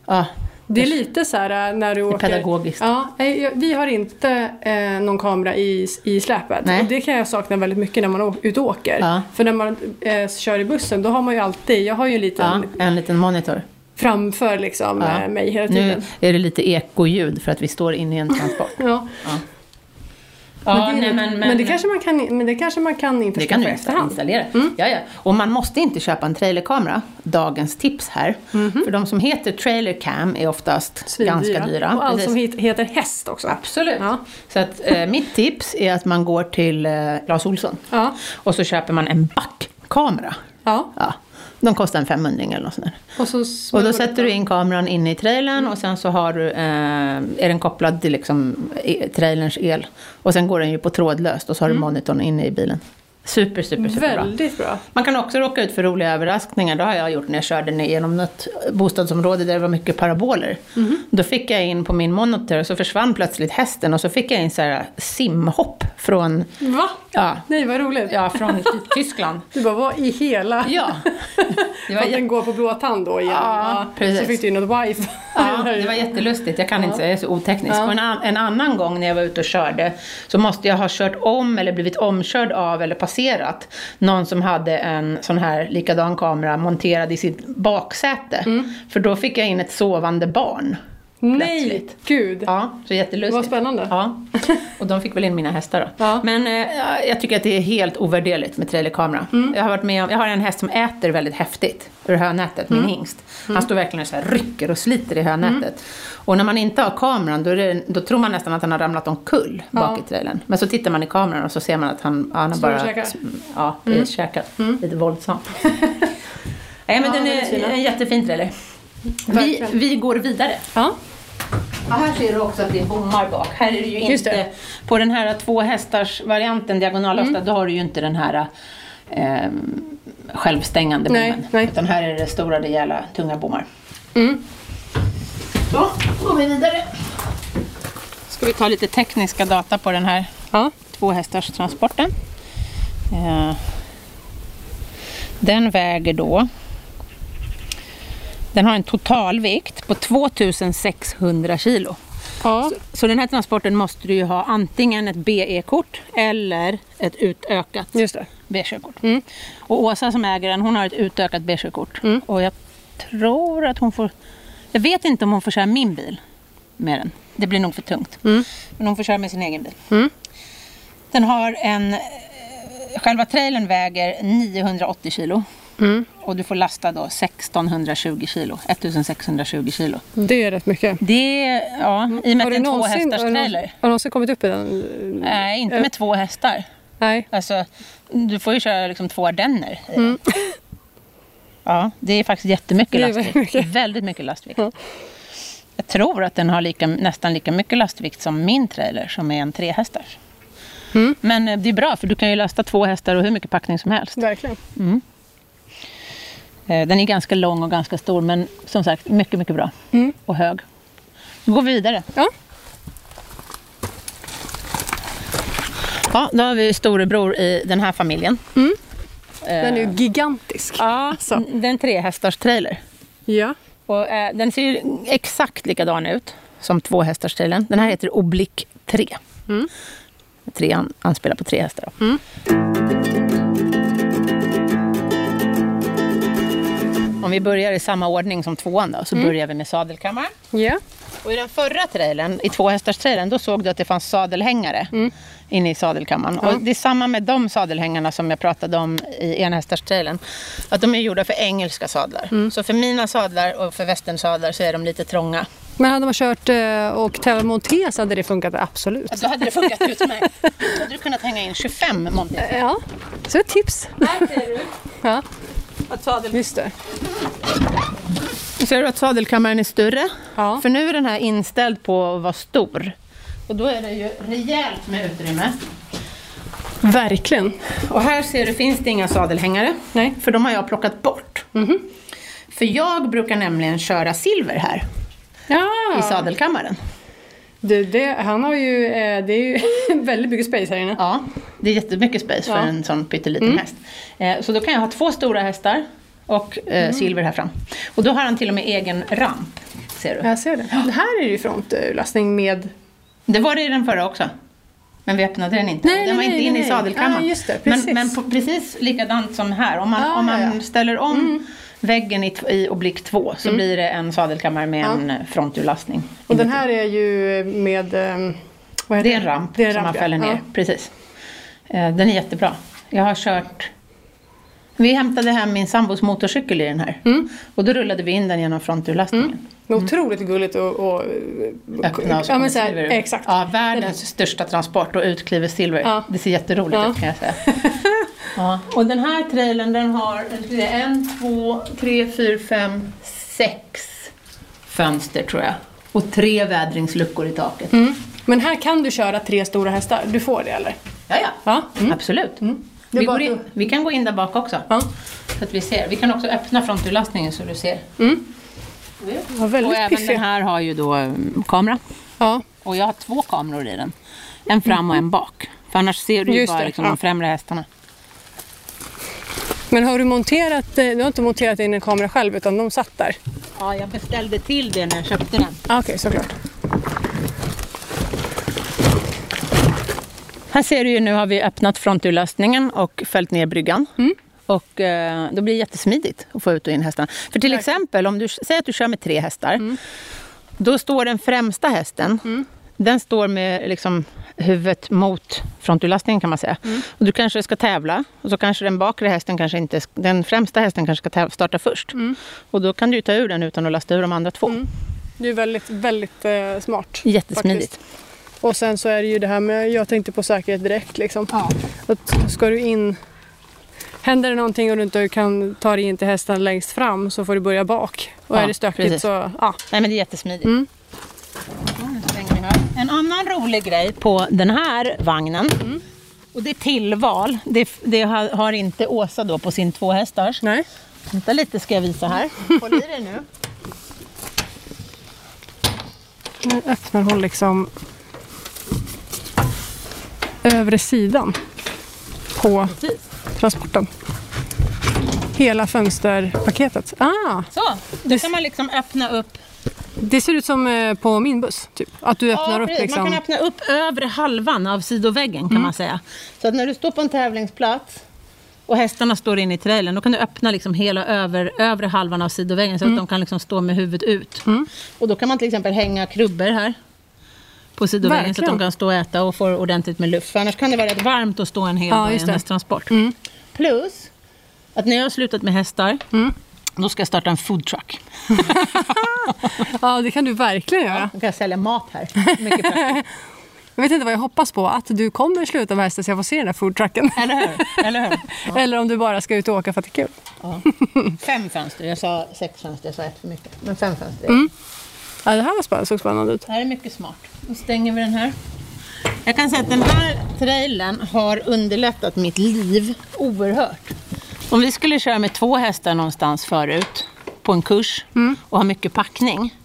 ja,
Det är lite så här äh, när du åker...
pedagogiskt.
Ja, nej, jag- vi har inte eh, någon kamera i, i släpet.
Nej.
Och det kan jag sakna väldigt mycket när man å- ut och åker.
Ja.
För när man eh, kör i bussen, då har man ju alltid... Jag har ju en liten
Ja, en liten monitor.
framför liksom,
Ja.
eh, mig hela
Nu
tiden.
är det lite ekoljud för att vi står inne i en transport.
Ja.
Ja,
men, det,
nej,
är-
men, men,
det kanske man kan, men det kanske man kan inte
det kan du
efterhand.
installera.
Mm.
Ja, ja. Och man måste inte köpa en trailerkamera. Dagens tips här. För de som heter trailercam är oftast
Mhm. Svindyra.
ganska dyra.
Och allt
Precis.
som het- heter häst också.
Absolut.
Ja.
Så att, eh, mitt tips är att man går till eh, Clas Ohlson
Ja.
och så köper man en backkamera.
Ja.
Ja. De kostar en 500 eller något sånt där.
Och, så
Och då sätter du in kameran inne i trailern och sen så har du, eh, är den kopplad till liksom e- trailerns el. Och sen går den ju på trådlöst och så har du monitorn inne i bilen. Super, super, superbra.
Mm. Väldigt bra.
Man kan också råka ut för roliga överraskningar. Det har jag gjort när jag körde ner genom något bostadsområde där det var mycket paraboler. Då fick jag in på min monitor och så försvann plötsligt hästen och så fick jag in så här simhopp från,
Va?
ja,
Nej, vad roligt.
ja, från Tyskland.
Du bara, vad i hela...
Ja.
Det
Det
var
var
att den går på blåtand då igen.
Ja,
Så
precis.
fick du in något wifi.
Ja, det var jättelustigt. Jag kan inte säga, jag är så oteknisk. Och en, an- en annan gång när jag var ute och körde så måste jag ha kört om eller blivit omkörd av eller passerat någon som hade en sån här likadan kamera monterad i sitt baksäte. För då fick jag in ett sovande barn.
Nej,
plötsligt.
gud.
Ja, så jättelustigt.
Vad spännande.
Ja, och de fick väl in mina hästar då.
Ja.
Men eh, jag tycker att det är helt ovärderligt med trailerkamera.
Mm.
Jag, har varit med om, jag har en häst som äter väldigt häftigt ur hönätet,
Mm.
min hingst. Han står verkligen och så här rycker och sliter i hönätet.
Mm.
Och när man inte har kameran då, är det, då tror man nästan att han har ramlat omkull bak i trailern. Men så tittar man i kameran och så ser man att han, han har
Står och
bara
käkar. Mm.
ja, precis, käkat. Lite våldsamt. Nej men
Ja,
den
väldigt fina.
är en jättefin trailer. Vi,
Verkligen.
vi går vidare.
Ja.
Ja, här ser du också att det är bommar bak. Här är det ju
Just
inte,
det. Mm.
på den här två hästars varianten, diagonallastad, då har du ju inte den här eh, självstängande
Nej,
bommen.
nej.
Utan här är det stora, rejäla, tunga bommar.
Mm.
Så, går vi vidare. Ska vi ta lite tekniska data på den här
ja.
två hästars transporten. Eh, Den väger då den har en totalvikt på 2600 kilo.
ja.
Så den här transporten måste du ju ha antingen ett BE-kort eller ett utökat
Just det.
B-körkort.
Mm.
Och Åsa som äger den, hon har ett utökat B-körkort. Och jag tror att hon får... Jag vet inte om hon får köra min bil med den. Det blir nog för tungt. Men hon får köra med sin egen bil.
Mm.
Den har en... eh, Själva trailern väger 980 kilo.
Mm.
Och du får lasta då 1620 kilo. 1620 kilo.
Det är rätt mycket.
Det är, ja, i och Mm. med att det är en två
har,
hästars
du Eh. någonsin,
trailer.
har du någonsin kommit upp i den?
Nej, inte med två hästar.
Nej.
Alltså, du får ju köra liksom två ardenner. i den. Ja, det är faktiskt jättemycket
Mm. Det är
lastvikt.
väldigt mycket.
Väldigt mycket lastvikt.
Ja.
Jag tror att den har lika, nästan lika mycket lastvikt som min trailer som är en trehästars.
Mm.
Men eh, det är bra för du kan ju lasta två hästar och hur mycket packning som helst.
Verkligen.
Eh, Den är ganska lång och ganska stor men som sagt mycket, mycket bra.
Mm.
Och hög. Nu går vi vidare.
Ja.
Ja, då har vi storebror i den här familjen.
Den är ju gigantisk.
Eh. Ja,
Alltså.
det är en trehästars trailer.
Ja.
Och, eh, den ser ju exakt likadan ut som tvåhästarstilen. Den här heter Oblick 3.
Mm.
Trean anspelar på tre hästar. då.
Mm.
Om vi börjar i samma ordning som tvåan då, så
Mm.
börjar vi med sadelkammaren.
Ja.
Och i den förra trailern, i tvåhästarstrailern, då såg du att det fanns sadelhängare inne i sadelkammaren. Och det är samma med de sadelhängarna som jag pratade om i enhästarstrailern. Att de är gjorda för engelska sadlar. Så för mina sadlar och för västernsadlar så är de lite trånga.
Men hade man kört eh, och tävlat Montes hade det funkat absolut.
Ja, Då hade det funkat utmärkt. Då hade du kunnat hänga in 25 monter.
Ja. Så ett tips.
Här ser du
Ja.
att, sadel...
Just det.
ser du att sadelkammaren är större.
Ja.
För nu är den här inställd på att vara stor. Och då är det ju rejält med utrymme.
Verkligen.
Och här ser du, finns det inga sadelhängare.
Nej.
För de har jag plockat bort.
Mhm.
För jag brukar nämligen köra silver här
Ja.
i sadelkammaren.
Du, det, han har ju, eh, det är ju väldigt mycket space här inne.
Ja, det är jättemycket space för
Ja. Mm.
en sån pytteliten häst. Eh, så då kan jag ha
Mm.
två stora hästar och eh, silver här fram. Och då har han till och med egen ramp. ser du.
Jag ser det. Det här är ju frontlastning med...
Det var det i den förra också. Men vi öppnade den inte.
Nej, nej,
den var
nej,
inte inne
nej.
i sadelkammaren.
Ah, just det,
men
precis.
men på, precis likadant som här. Om man,
Ah,
om man
ja, Mm. ja.
ställer om väggen i, t- i oblik 2 så blir det en sadelkammare med
Ja.
en eh, fronturlastning.
Och den här är ju med... ehm, Vad heter
Det är en ramp
Det är en
som
ramp,
man
ja.
fäller ner.
Ja.
Precis. Eh, Den är jättebra. Jag har kört... Vi hämtade hem min sambos motorcykel i den här.
Mm.
Och då rullade vi in den genom fronturlastningen.
Det är Otroligt gulligt och... och
Mm. Öppna
eh,
och så
Mm. ja,
kommer
men så här,
Silver ut.
Exakt.
Ja, världens största transport och ut kliver Silver.
Ja.
Det ser jätteroligt
Ja.
ut kan jag säga. ja. Och den här trailern den har nu ska vi se, en, två, tre, fyra, fem, sex fönster tror jag. Och tre vädringsluckor i taket.
Mm. Men här kan du köra tre stora hästar. Du får det eller?
Ja, ja.
Ja. Mm.
Absolut.
Det är
Vi,
bara
går in,
att-
vi kan gå in där bak också.
Ja.
Så att vi ser. Vi kan också öppna fronturlastningen så du ser.
Ja,
Och
Mm. väldigt
även den
piffiga.
här har ju då mm, kamera.
Ja.
Och jag har två kameror i den. En fram och en bak. För annars ser du ju
Just
bara
det,
liksom
ja.
de främre hästarna.
Men har du monterat... eh, Du har inte monterat in en kamera själv utan de satt där?
Ja, jag beställde till det när jag köpte den.
Ah, Okej, såklart.
Här ser du ju, nu har vi öppnat fronturlastningen och fällt ner bryggan. Och eh, då blir det jättesmidigt att få ut och in hästarna. För till exempel, om du säger att du kör med tre hästar. Då står den främsta hästen, den står med liksom, huvudet mot fronturlastningen kan man säga. Och du kanske ska tävla och så kanske den bakre hästen kanske inte, sk- den främsta hästen kanske ska täv- starta först. Och då kan du ju ta ur den utan att lasta ur de andra två.
Det är väldigt, väldigt eh, smart.
Jättesmidigt.
faktiskt. Och sen så är det ju det här med, jag tänkte på säkerhet direkt liksom. Att ska du in, händer det någonting och du inte kan ta dig in till hästen längst fram så får du börja bak. Och
Ja,
är det stökigt
precis.
så, ja.
Nej men det är jättesmidigt.
Mm.
En annan rolig grej på den här vagnen, och det är tillval. Det, det har har inte Åsa då på sin tvåhästars.
Nej.
Vänta lite ska jag visa här. Håll i dig nu.
Nu öppnar hon liksom övre sidan på transporten. Hela fönsterpaketet. Ah,
Så, då kan man liksom öppna upp.
det ser ut som eh, på min buss, typ. Att du öppnar
Ja,
upp
precis. Man
liksom. Mm.
kan öppna upp övre halvan av sidoväggen kan man säga. Så att när du står på en tävlingsplats och hästarna står inne i trailern, då kan du öppna liksom hela över, övre halvan av sidoväggen
Mm.
så att de kan liksom stå med huvudet ut. Och då kan man till exempel hänga krubbor här på sidoväggen så att
Verkligen.
de kan stå och äta och få ordentligt med luft. För annars kan det vara rätt varmt att stå en hel
Ja,
dag i
just
en
det. Mm.
hästtransport. Plus att när jag har slutat med hästar,
Mm.
då ska jag starta en foodtruck.
Ja, det kan du verkligen göra.
Då kan jag sälja mat här. Mycket pengar.
Jag vet inte vad jag hoppas på, att du kommer sluta med hästen så jag får se den där foodtrucken.
Eller hur? Eller hur?
Eller om du bara ska ut och åka för att det är kul.
Fem fönster. Jag sa sex fönster, jag sa ett för mycket. Men fem fönster.
Ja, det här var spännande, såg spännande ut.
Det här är mycket smart. Då stänger vi den här. Jag kan säga att den här trailern har underlättat mitt liv oerhört. Om vi skulle köra med två hästar någonstans förut på en kurs och ha mycket packning.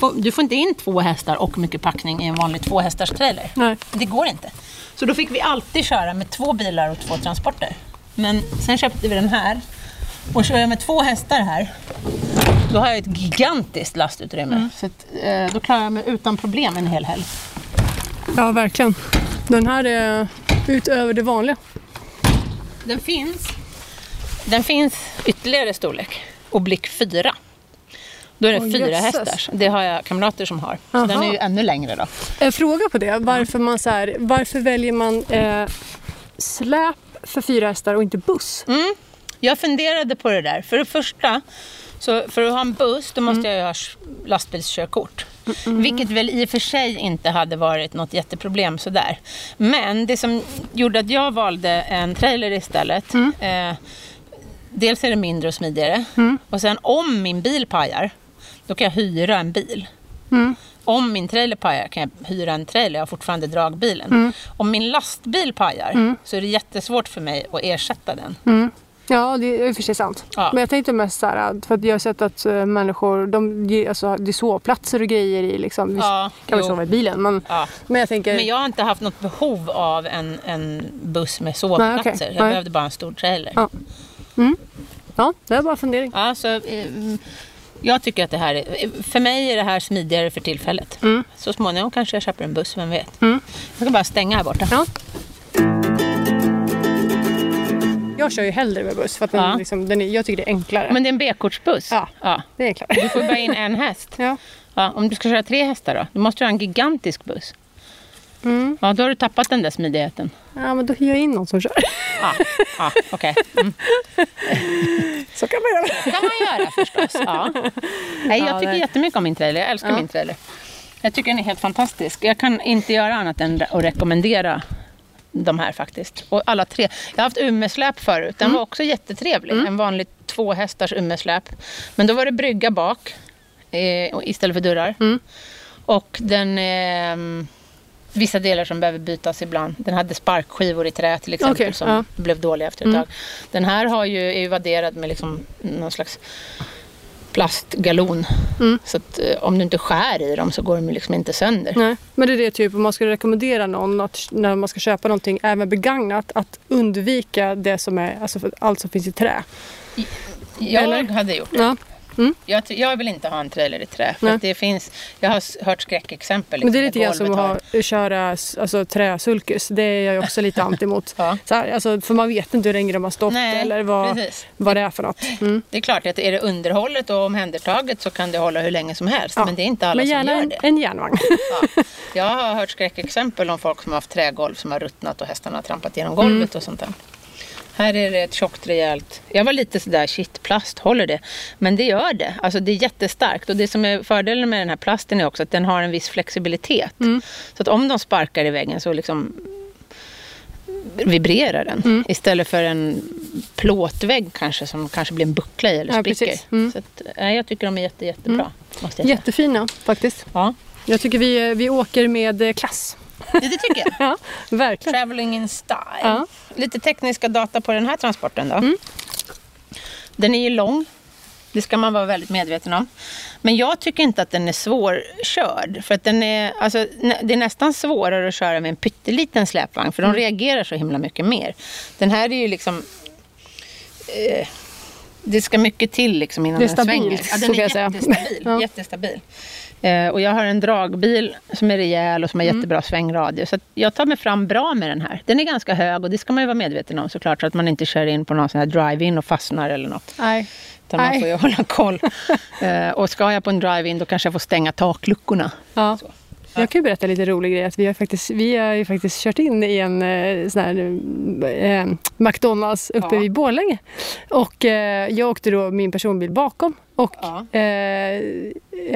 Får- Du får inte in två hästar och mycket packning i en vanlig tvåhästars trailer.
Nej.
Det går inte. Så då fick vi alltid köra med två bilar och två transporter. Men sen köpte vi den här. Och kör jag med två hästar här, då har jag ett gigantiskt lastutrymme. Så att, eh, då klarar jag mig utan problem en hel helg.
Ja, verkligen. Den här är utöver det vanliga.
Den finns, den finns ytterligare storlek, oblick 4. Då är det
Åh,
fyra
jösses.
hästars. Det har jag kamrater som har. Så den
Aha.
är ju ännu längre då.
En fråga på det, varför, man så här, varför väljer man eh, släp för fyra hästar och inte buss?
Mm. Jag funderade på det där. För det första, så för att ha en buss, då måste jag ju ha s- lastbilskörkort. Vilket väl i och för sig inte hade varit något jätteproblem sådär. Men det som gjorde att jag valde en trailer istället. Eh, dels är det mindre och smidigare. Och sen om min bil pajar, då kan jag hyra en bil. Om min trailer pajar kan jag hyra en trailer, jag har fortfarande dragbilen. Om min lastbil pajar så är det jättesvårt för mig att ersätta den.
Ja, det är i och för sig sant.
Ja.
Men jag tänkte mest så här, för att jag har sett att eh, människor, de, ger- alltså, det är sovplatser och grejer i liksom. Visst,
Ja,
kan man
jo.
sova i bilen, men,
Ja.
men jag tänker...
Men jag har inte haft något behov av en, en buss med sovplatser.
Nej, okej.
Jag
Nej.
behövde bara en stor trailer.
Ja. Ja, det var bara en fundering.
Ja, så, eh, mm, Jag tycker att det här är, för mig är det här smidigare för tillfället.
Mm.
Så småningom kanske jag köper en buss, vem vet.
Mm.
Jag kan bara stänga här borta.
Ja. Jag kör ju hellre med buss för att den,
Ja.
liksom, den är, jag tycker det är enklare.
Men det är en B-kortsbuss?
Ja.
ja.
det är klart.
Du får bara in en häst.
Ja.
Ja, om du ska köra tre hästar då? Då måste du ha en gigantisk buss.
Mm.
Ja, då har du tappat den där smidigheten.
ja, men då hyr jag in någon som kör.
Ja, ja okej. Mm.
Så kan man göra.
kan man göra förstås. Ja. Nej, jag
Ja,
tycker
det-
jättemycket om min trailer. Jag älskar
Ja.
min trailer. Jag tycker den är helt fantastisk. Jag kan inte göra annat än att rekommendera de här faktiskt. Och alla tre. Jag har haft ummesläp förut. Den var också jättetrevlig. En vanlig tvåhästars ummesläp. Men då var det brygga bak eh, och- istället för dörrar.
Mm.
Och den... Eh, vissa delar som behöver bytas ibland. Den hade sparkskivor i trä till exempel
Okej,
som
ja. Mm.
blev dåliga efter ett tag. Den här har ju, är ju vadderad med liksom någon slags plastgalon.
Mm.
Så att eh, om du inte skär i dem så går de ju liksom inte sönder.
Nej, men det är det typ om man ska rekommendera någon att när man ska köpa någonting, även begagnat, att undvika det som är, alltså för- allt som finns i trä.
Jag
Eller?
hade gjort det.
Ja.
Jag, ty- jag vill inte ha en trailer i trä. För
Nej.
att det finns, jag har s- hört skräckexempel.
Men det är
liksom,
lite
där
grann som
golvet har-
att ha, köra s- alltså, träsulkus. Det är jag ju också lite anti mot.
Ja.
Så här, alltså, för man vet inte hur länge de har stått
Nej,
eller vad,
precis.
vad det är för något. Mm.
Det är klart att är det underhållet och omhändertaget så kan det hålla hur länge som helst.
Ja.
Men det är inte alla
Men
som
gärna
gör
en,
det.
en järnvagn.
Ja. Jag har hört skräckexempel om folk som har haft trägolv som har ruttnat och hästarna har trampat genom golvet och sånt där. Här är det ett tjockt rejält. Jag var lite sådär, shit, plast, håller det? Men det gör det. Alltså det är jättestarkt. Och det som är fördelen med den här plasten är också att den har en viss flexibilitet. Så att om de sparkar i väggen så liksom vibrerar den. Istället för en plåtvägg kanske som kanske blir en buckla i eller
Ja,
spricker.
precis. Mm.
Så att, nej, jag tycker de är jätte, jättebra. Måste jag säga.
Jättefina faktiskt.
Ja.
Jag tycker vi, vi åker med eh, klass.
ja, det tycker jag.
Ja, verkligen.
Traveling in style.
Ja.
Lite tekniska data på den här transporten då. Den är ju lång. Det ska man vara väldigt medveten om. Men jag tycker inte att den är svårkörd. För att den är, alltså, nä- det är nästan svårare att köra med en pytteliten släpvagn. För de
Mm.
reagerar så himla mycket mer. Den här är ju liksom... Eh, det ska mycket till liksom innan
Det
den
är stabilt,
svänger. Ja,
så
den
kan
är
jag säga.
jättestabil.
Ja.
jättestabil. Eh, och jag har en dragbil som är rejäl och som har
Mm.
jättebra svängradie. Så att jag tar mig fram bra med den här. Den är ganska hög och det ska man ju vara medveten om såklart. Så att man inte kör in på någon sån här drive-in och fastnar eller något.
Nej.
Utan man
Nej.
får ju hålla koll. Eh, och ska jag på en drive-in då kanske jag får stänga takluckorna.
Ja.
Så.
Jag kan ju berätta lite rolig grej. Att vi, har faktiskt, vi har ju faktiskt kört in i en eh, sån här eh, McDonalds uppe
Ja.
vid Borlänge. Och eh, jag åkte då min personbil bakom och
Ja.
eh,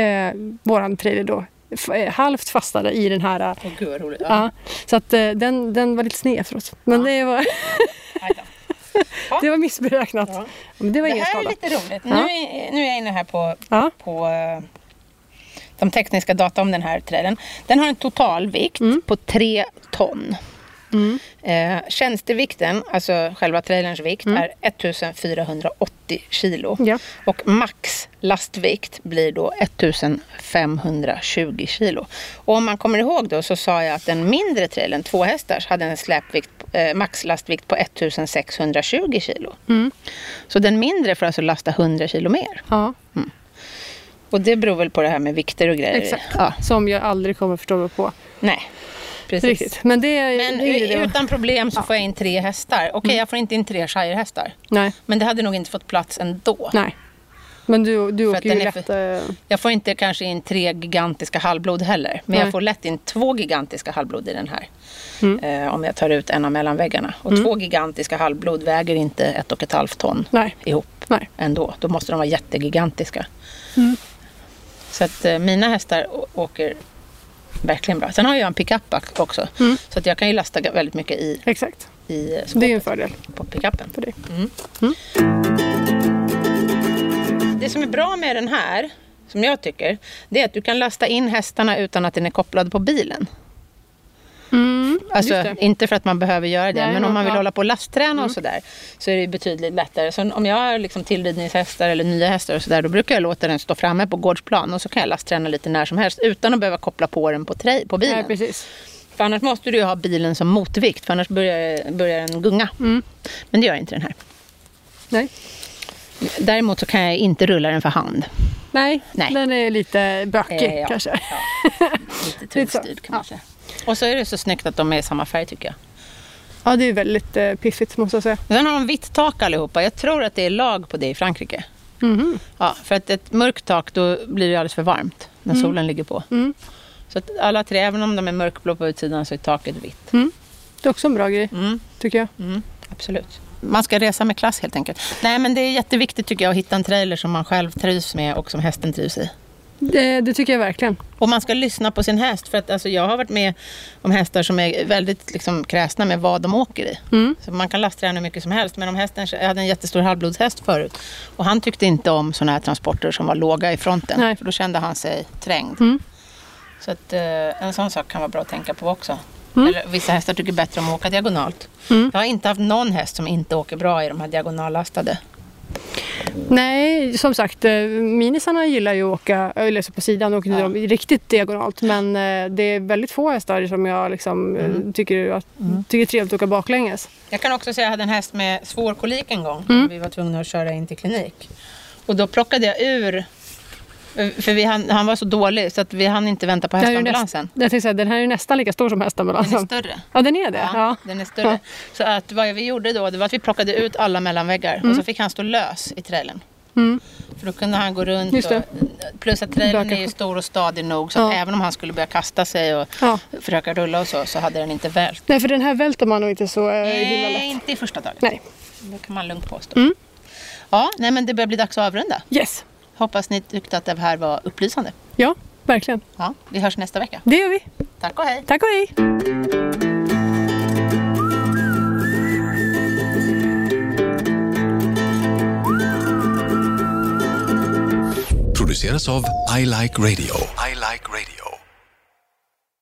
eh, våran trailer då f- eh, halvt fastnade i den här. eh,
Åh gud vad roligt. Ja.
Ja. Så att eh, den, den var lite sned efteråt. Men
Ja.
det, var,
Aj då.
det var missberäknat.
Ja.
Men det var
Det
ingen
här är
skada.
lite roligt.
Ja.
Nu, är, nu är jag inne här på,
Ja.
på eh, de tekniska data om den här trailern. Den har en totalvikt på 3 ton.
Mm.
Eh, tjänstevikten, alltså själva trailerns vikt, är 1480 kilo.
Mm. Ja.
Och max lastvikt blir då 1520 kilo. Och om man kommer ihåg då så sa jag att den mindre trailern, två hästars, hade en släpvikt, eh, max lastvikt på 1620 kilo.
Mm.
Så den mindre får alltså lasta 100 kilo mer.
Ja,
Och det beror väl på det här med vikter och grejer.
exakt.
Ja,
Eh, Som jag aldrig kommer förstå mig på.
nej, precis.
Riktigt. Men det,
Men
det är ju det.
utan problem så får jag in tre hästar. Okej, jag får inte in tre shirehästar.
Nej.
Men det hade nog inte fått plats ändå.
Nej. Men du, du
För att
åker ju
den är
lätt... eh,
Jag får inte kanske in tre gigantiska halvblod heller. Men jag
Nej.
får lätt in två gigantiska halvblod i den här.
Mm.
Eh, om jag tar ut en av mellanväggarna. Och två gigantiska halvblod väger inte ett och ett halvt ton
Nej,
ihop
nej.
ändå. Då måste de vara jättegigantiska. Så att eh, mina hästar å- åker verkligen bra. Sen har jag en pickup ak- också.
Mm.
Så att jag kan ju lasta ga- väldigt mycket i,
Exakt.
i eh,
Så det är ju en fördel
på pickupen.
Mm.
Mm.
för Mm. dig.
Det som är bra med den här, som jag tycker, det är att du kan lasta in hästarna utan att den är kopplad på bilen.
Mm, just
Alltså
det.
inte för att man behöver göra det,
Nej,
men om
men
man vill
ja. Mm.
hålla på och lastträna och sådär så är det ju betydligt lättare. Så om jag har liksom tillridningshästar eller nya hästar och sådär, då brukar jag låta den stå framme på gårdsplan och så kan jag lastträna lite när som helst utan att behöva koppla på den på, trej, på bilen.
Nej, precis.
för annars måste du ju ha bilen som motvikt, för annars börjar, börjar den gunga.
Mm.
Men det gör inte den här.
Nej.
Däremot så kan jag inte rulla den för hand.
Nej,
Nej.
den är lite bökig
Eh, ja.
kanske.
Lite tungstyrd kan man
Ja.
säga. Och så är det så snyggt att de är i samma färg tycker jag.
Ja, det är väldigt eh, piffigt måste jag säga.
Och Sen har de vitt tak allihopa. Jag tror att det är lag på det i Frankrike. Ja, för att ett mörkt tak då blir det alldeles för varmt när solen ligger på.
Mm.
Så att alla tre, även om de är mörkblå på utsidan så är taket vitt.
Det är också en bra grej,
Mm,
tycker jag.
mm, absolut. Man ska resa med klass helt enkelt. Nej men det är jätteviktigt tycker jag att hitta en trailer som man själv trivs med och som hästen trivs i.
Det, det tycker jag verkligen.
Och man ska lyssna på sin häst. För att alltså, jag har varit med om hästar som är väldigt liksom, kräsna med vad de åker i.
Mm.
Så man kan lastträna hur mycket som helst. Men om hästen, jag hade en jättestor halvblodshäst förut. Och han tyckte inte om sådana här transporter som var låga i fronten.
Nej.
För då kände han sig trängd.
Mm.
Så att, eh, en sån sak kan vara bra att tänka på också.
Mm.
Eller, vissa hästar tycker bättre om att åka diagonalt.
Mm.
Jag har inte haft någon häst som inte åker bra i de här diagonallastade.
Nej, som sagt, eh, minisarna gillar ju att åka, eh, eller så på sidan, åker inte
Ja.
de riktigt diagonalt. Men eh, det är väldigt få hästar som jag liksom, eh,
Mm.
tycker, att, tycker är trevligt att åka baklänges.
Jag kan också säga att jag hade en häst med svår kolik en gång.
Mm.
Vi var tvungna att köra in till klinik. Och då plockade jag ur, eh, för vi hann, han var så dålig så att vi hann inte vänta på
Den här, är ju näst,
hästambulansen.
jag tänkte säga, den här är ju nästan lika stor som
Den är
hästambulansen.
större.
Ja, den är det. Ja.
den är större.
Ja.
Så att vad vi gjorde då det var att vi plockade ut alla mellanväggar och så fick han stå lös i trailern.
Mm.
För då kunde han gå runt.
Just det.
Och, plus att trailern
Böka.
är ju stor och stadig nog så att
Ja.
även om han skulle börja kasta sig och
Ja.
försöka rulla och så, så hade den inte vält.
Nej, för den här välter man nog inte så eh, himla
Nej,
lätt.
inte i första taget.
Nej.
Det kan man lugnt påstå.
Mm.
Ja, nej men det börjar bli dags att avrunda.
Yes.
Hoppas ni tyckte att det här var upplysande.
Ja, verkligen.
Ja, vi hörs nästa vecka.
Det gör vi.
Tack och hej!
Tack och hej!
produceras av I Like Radio. I like radio.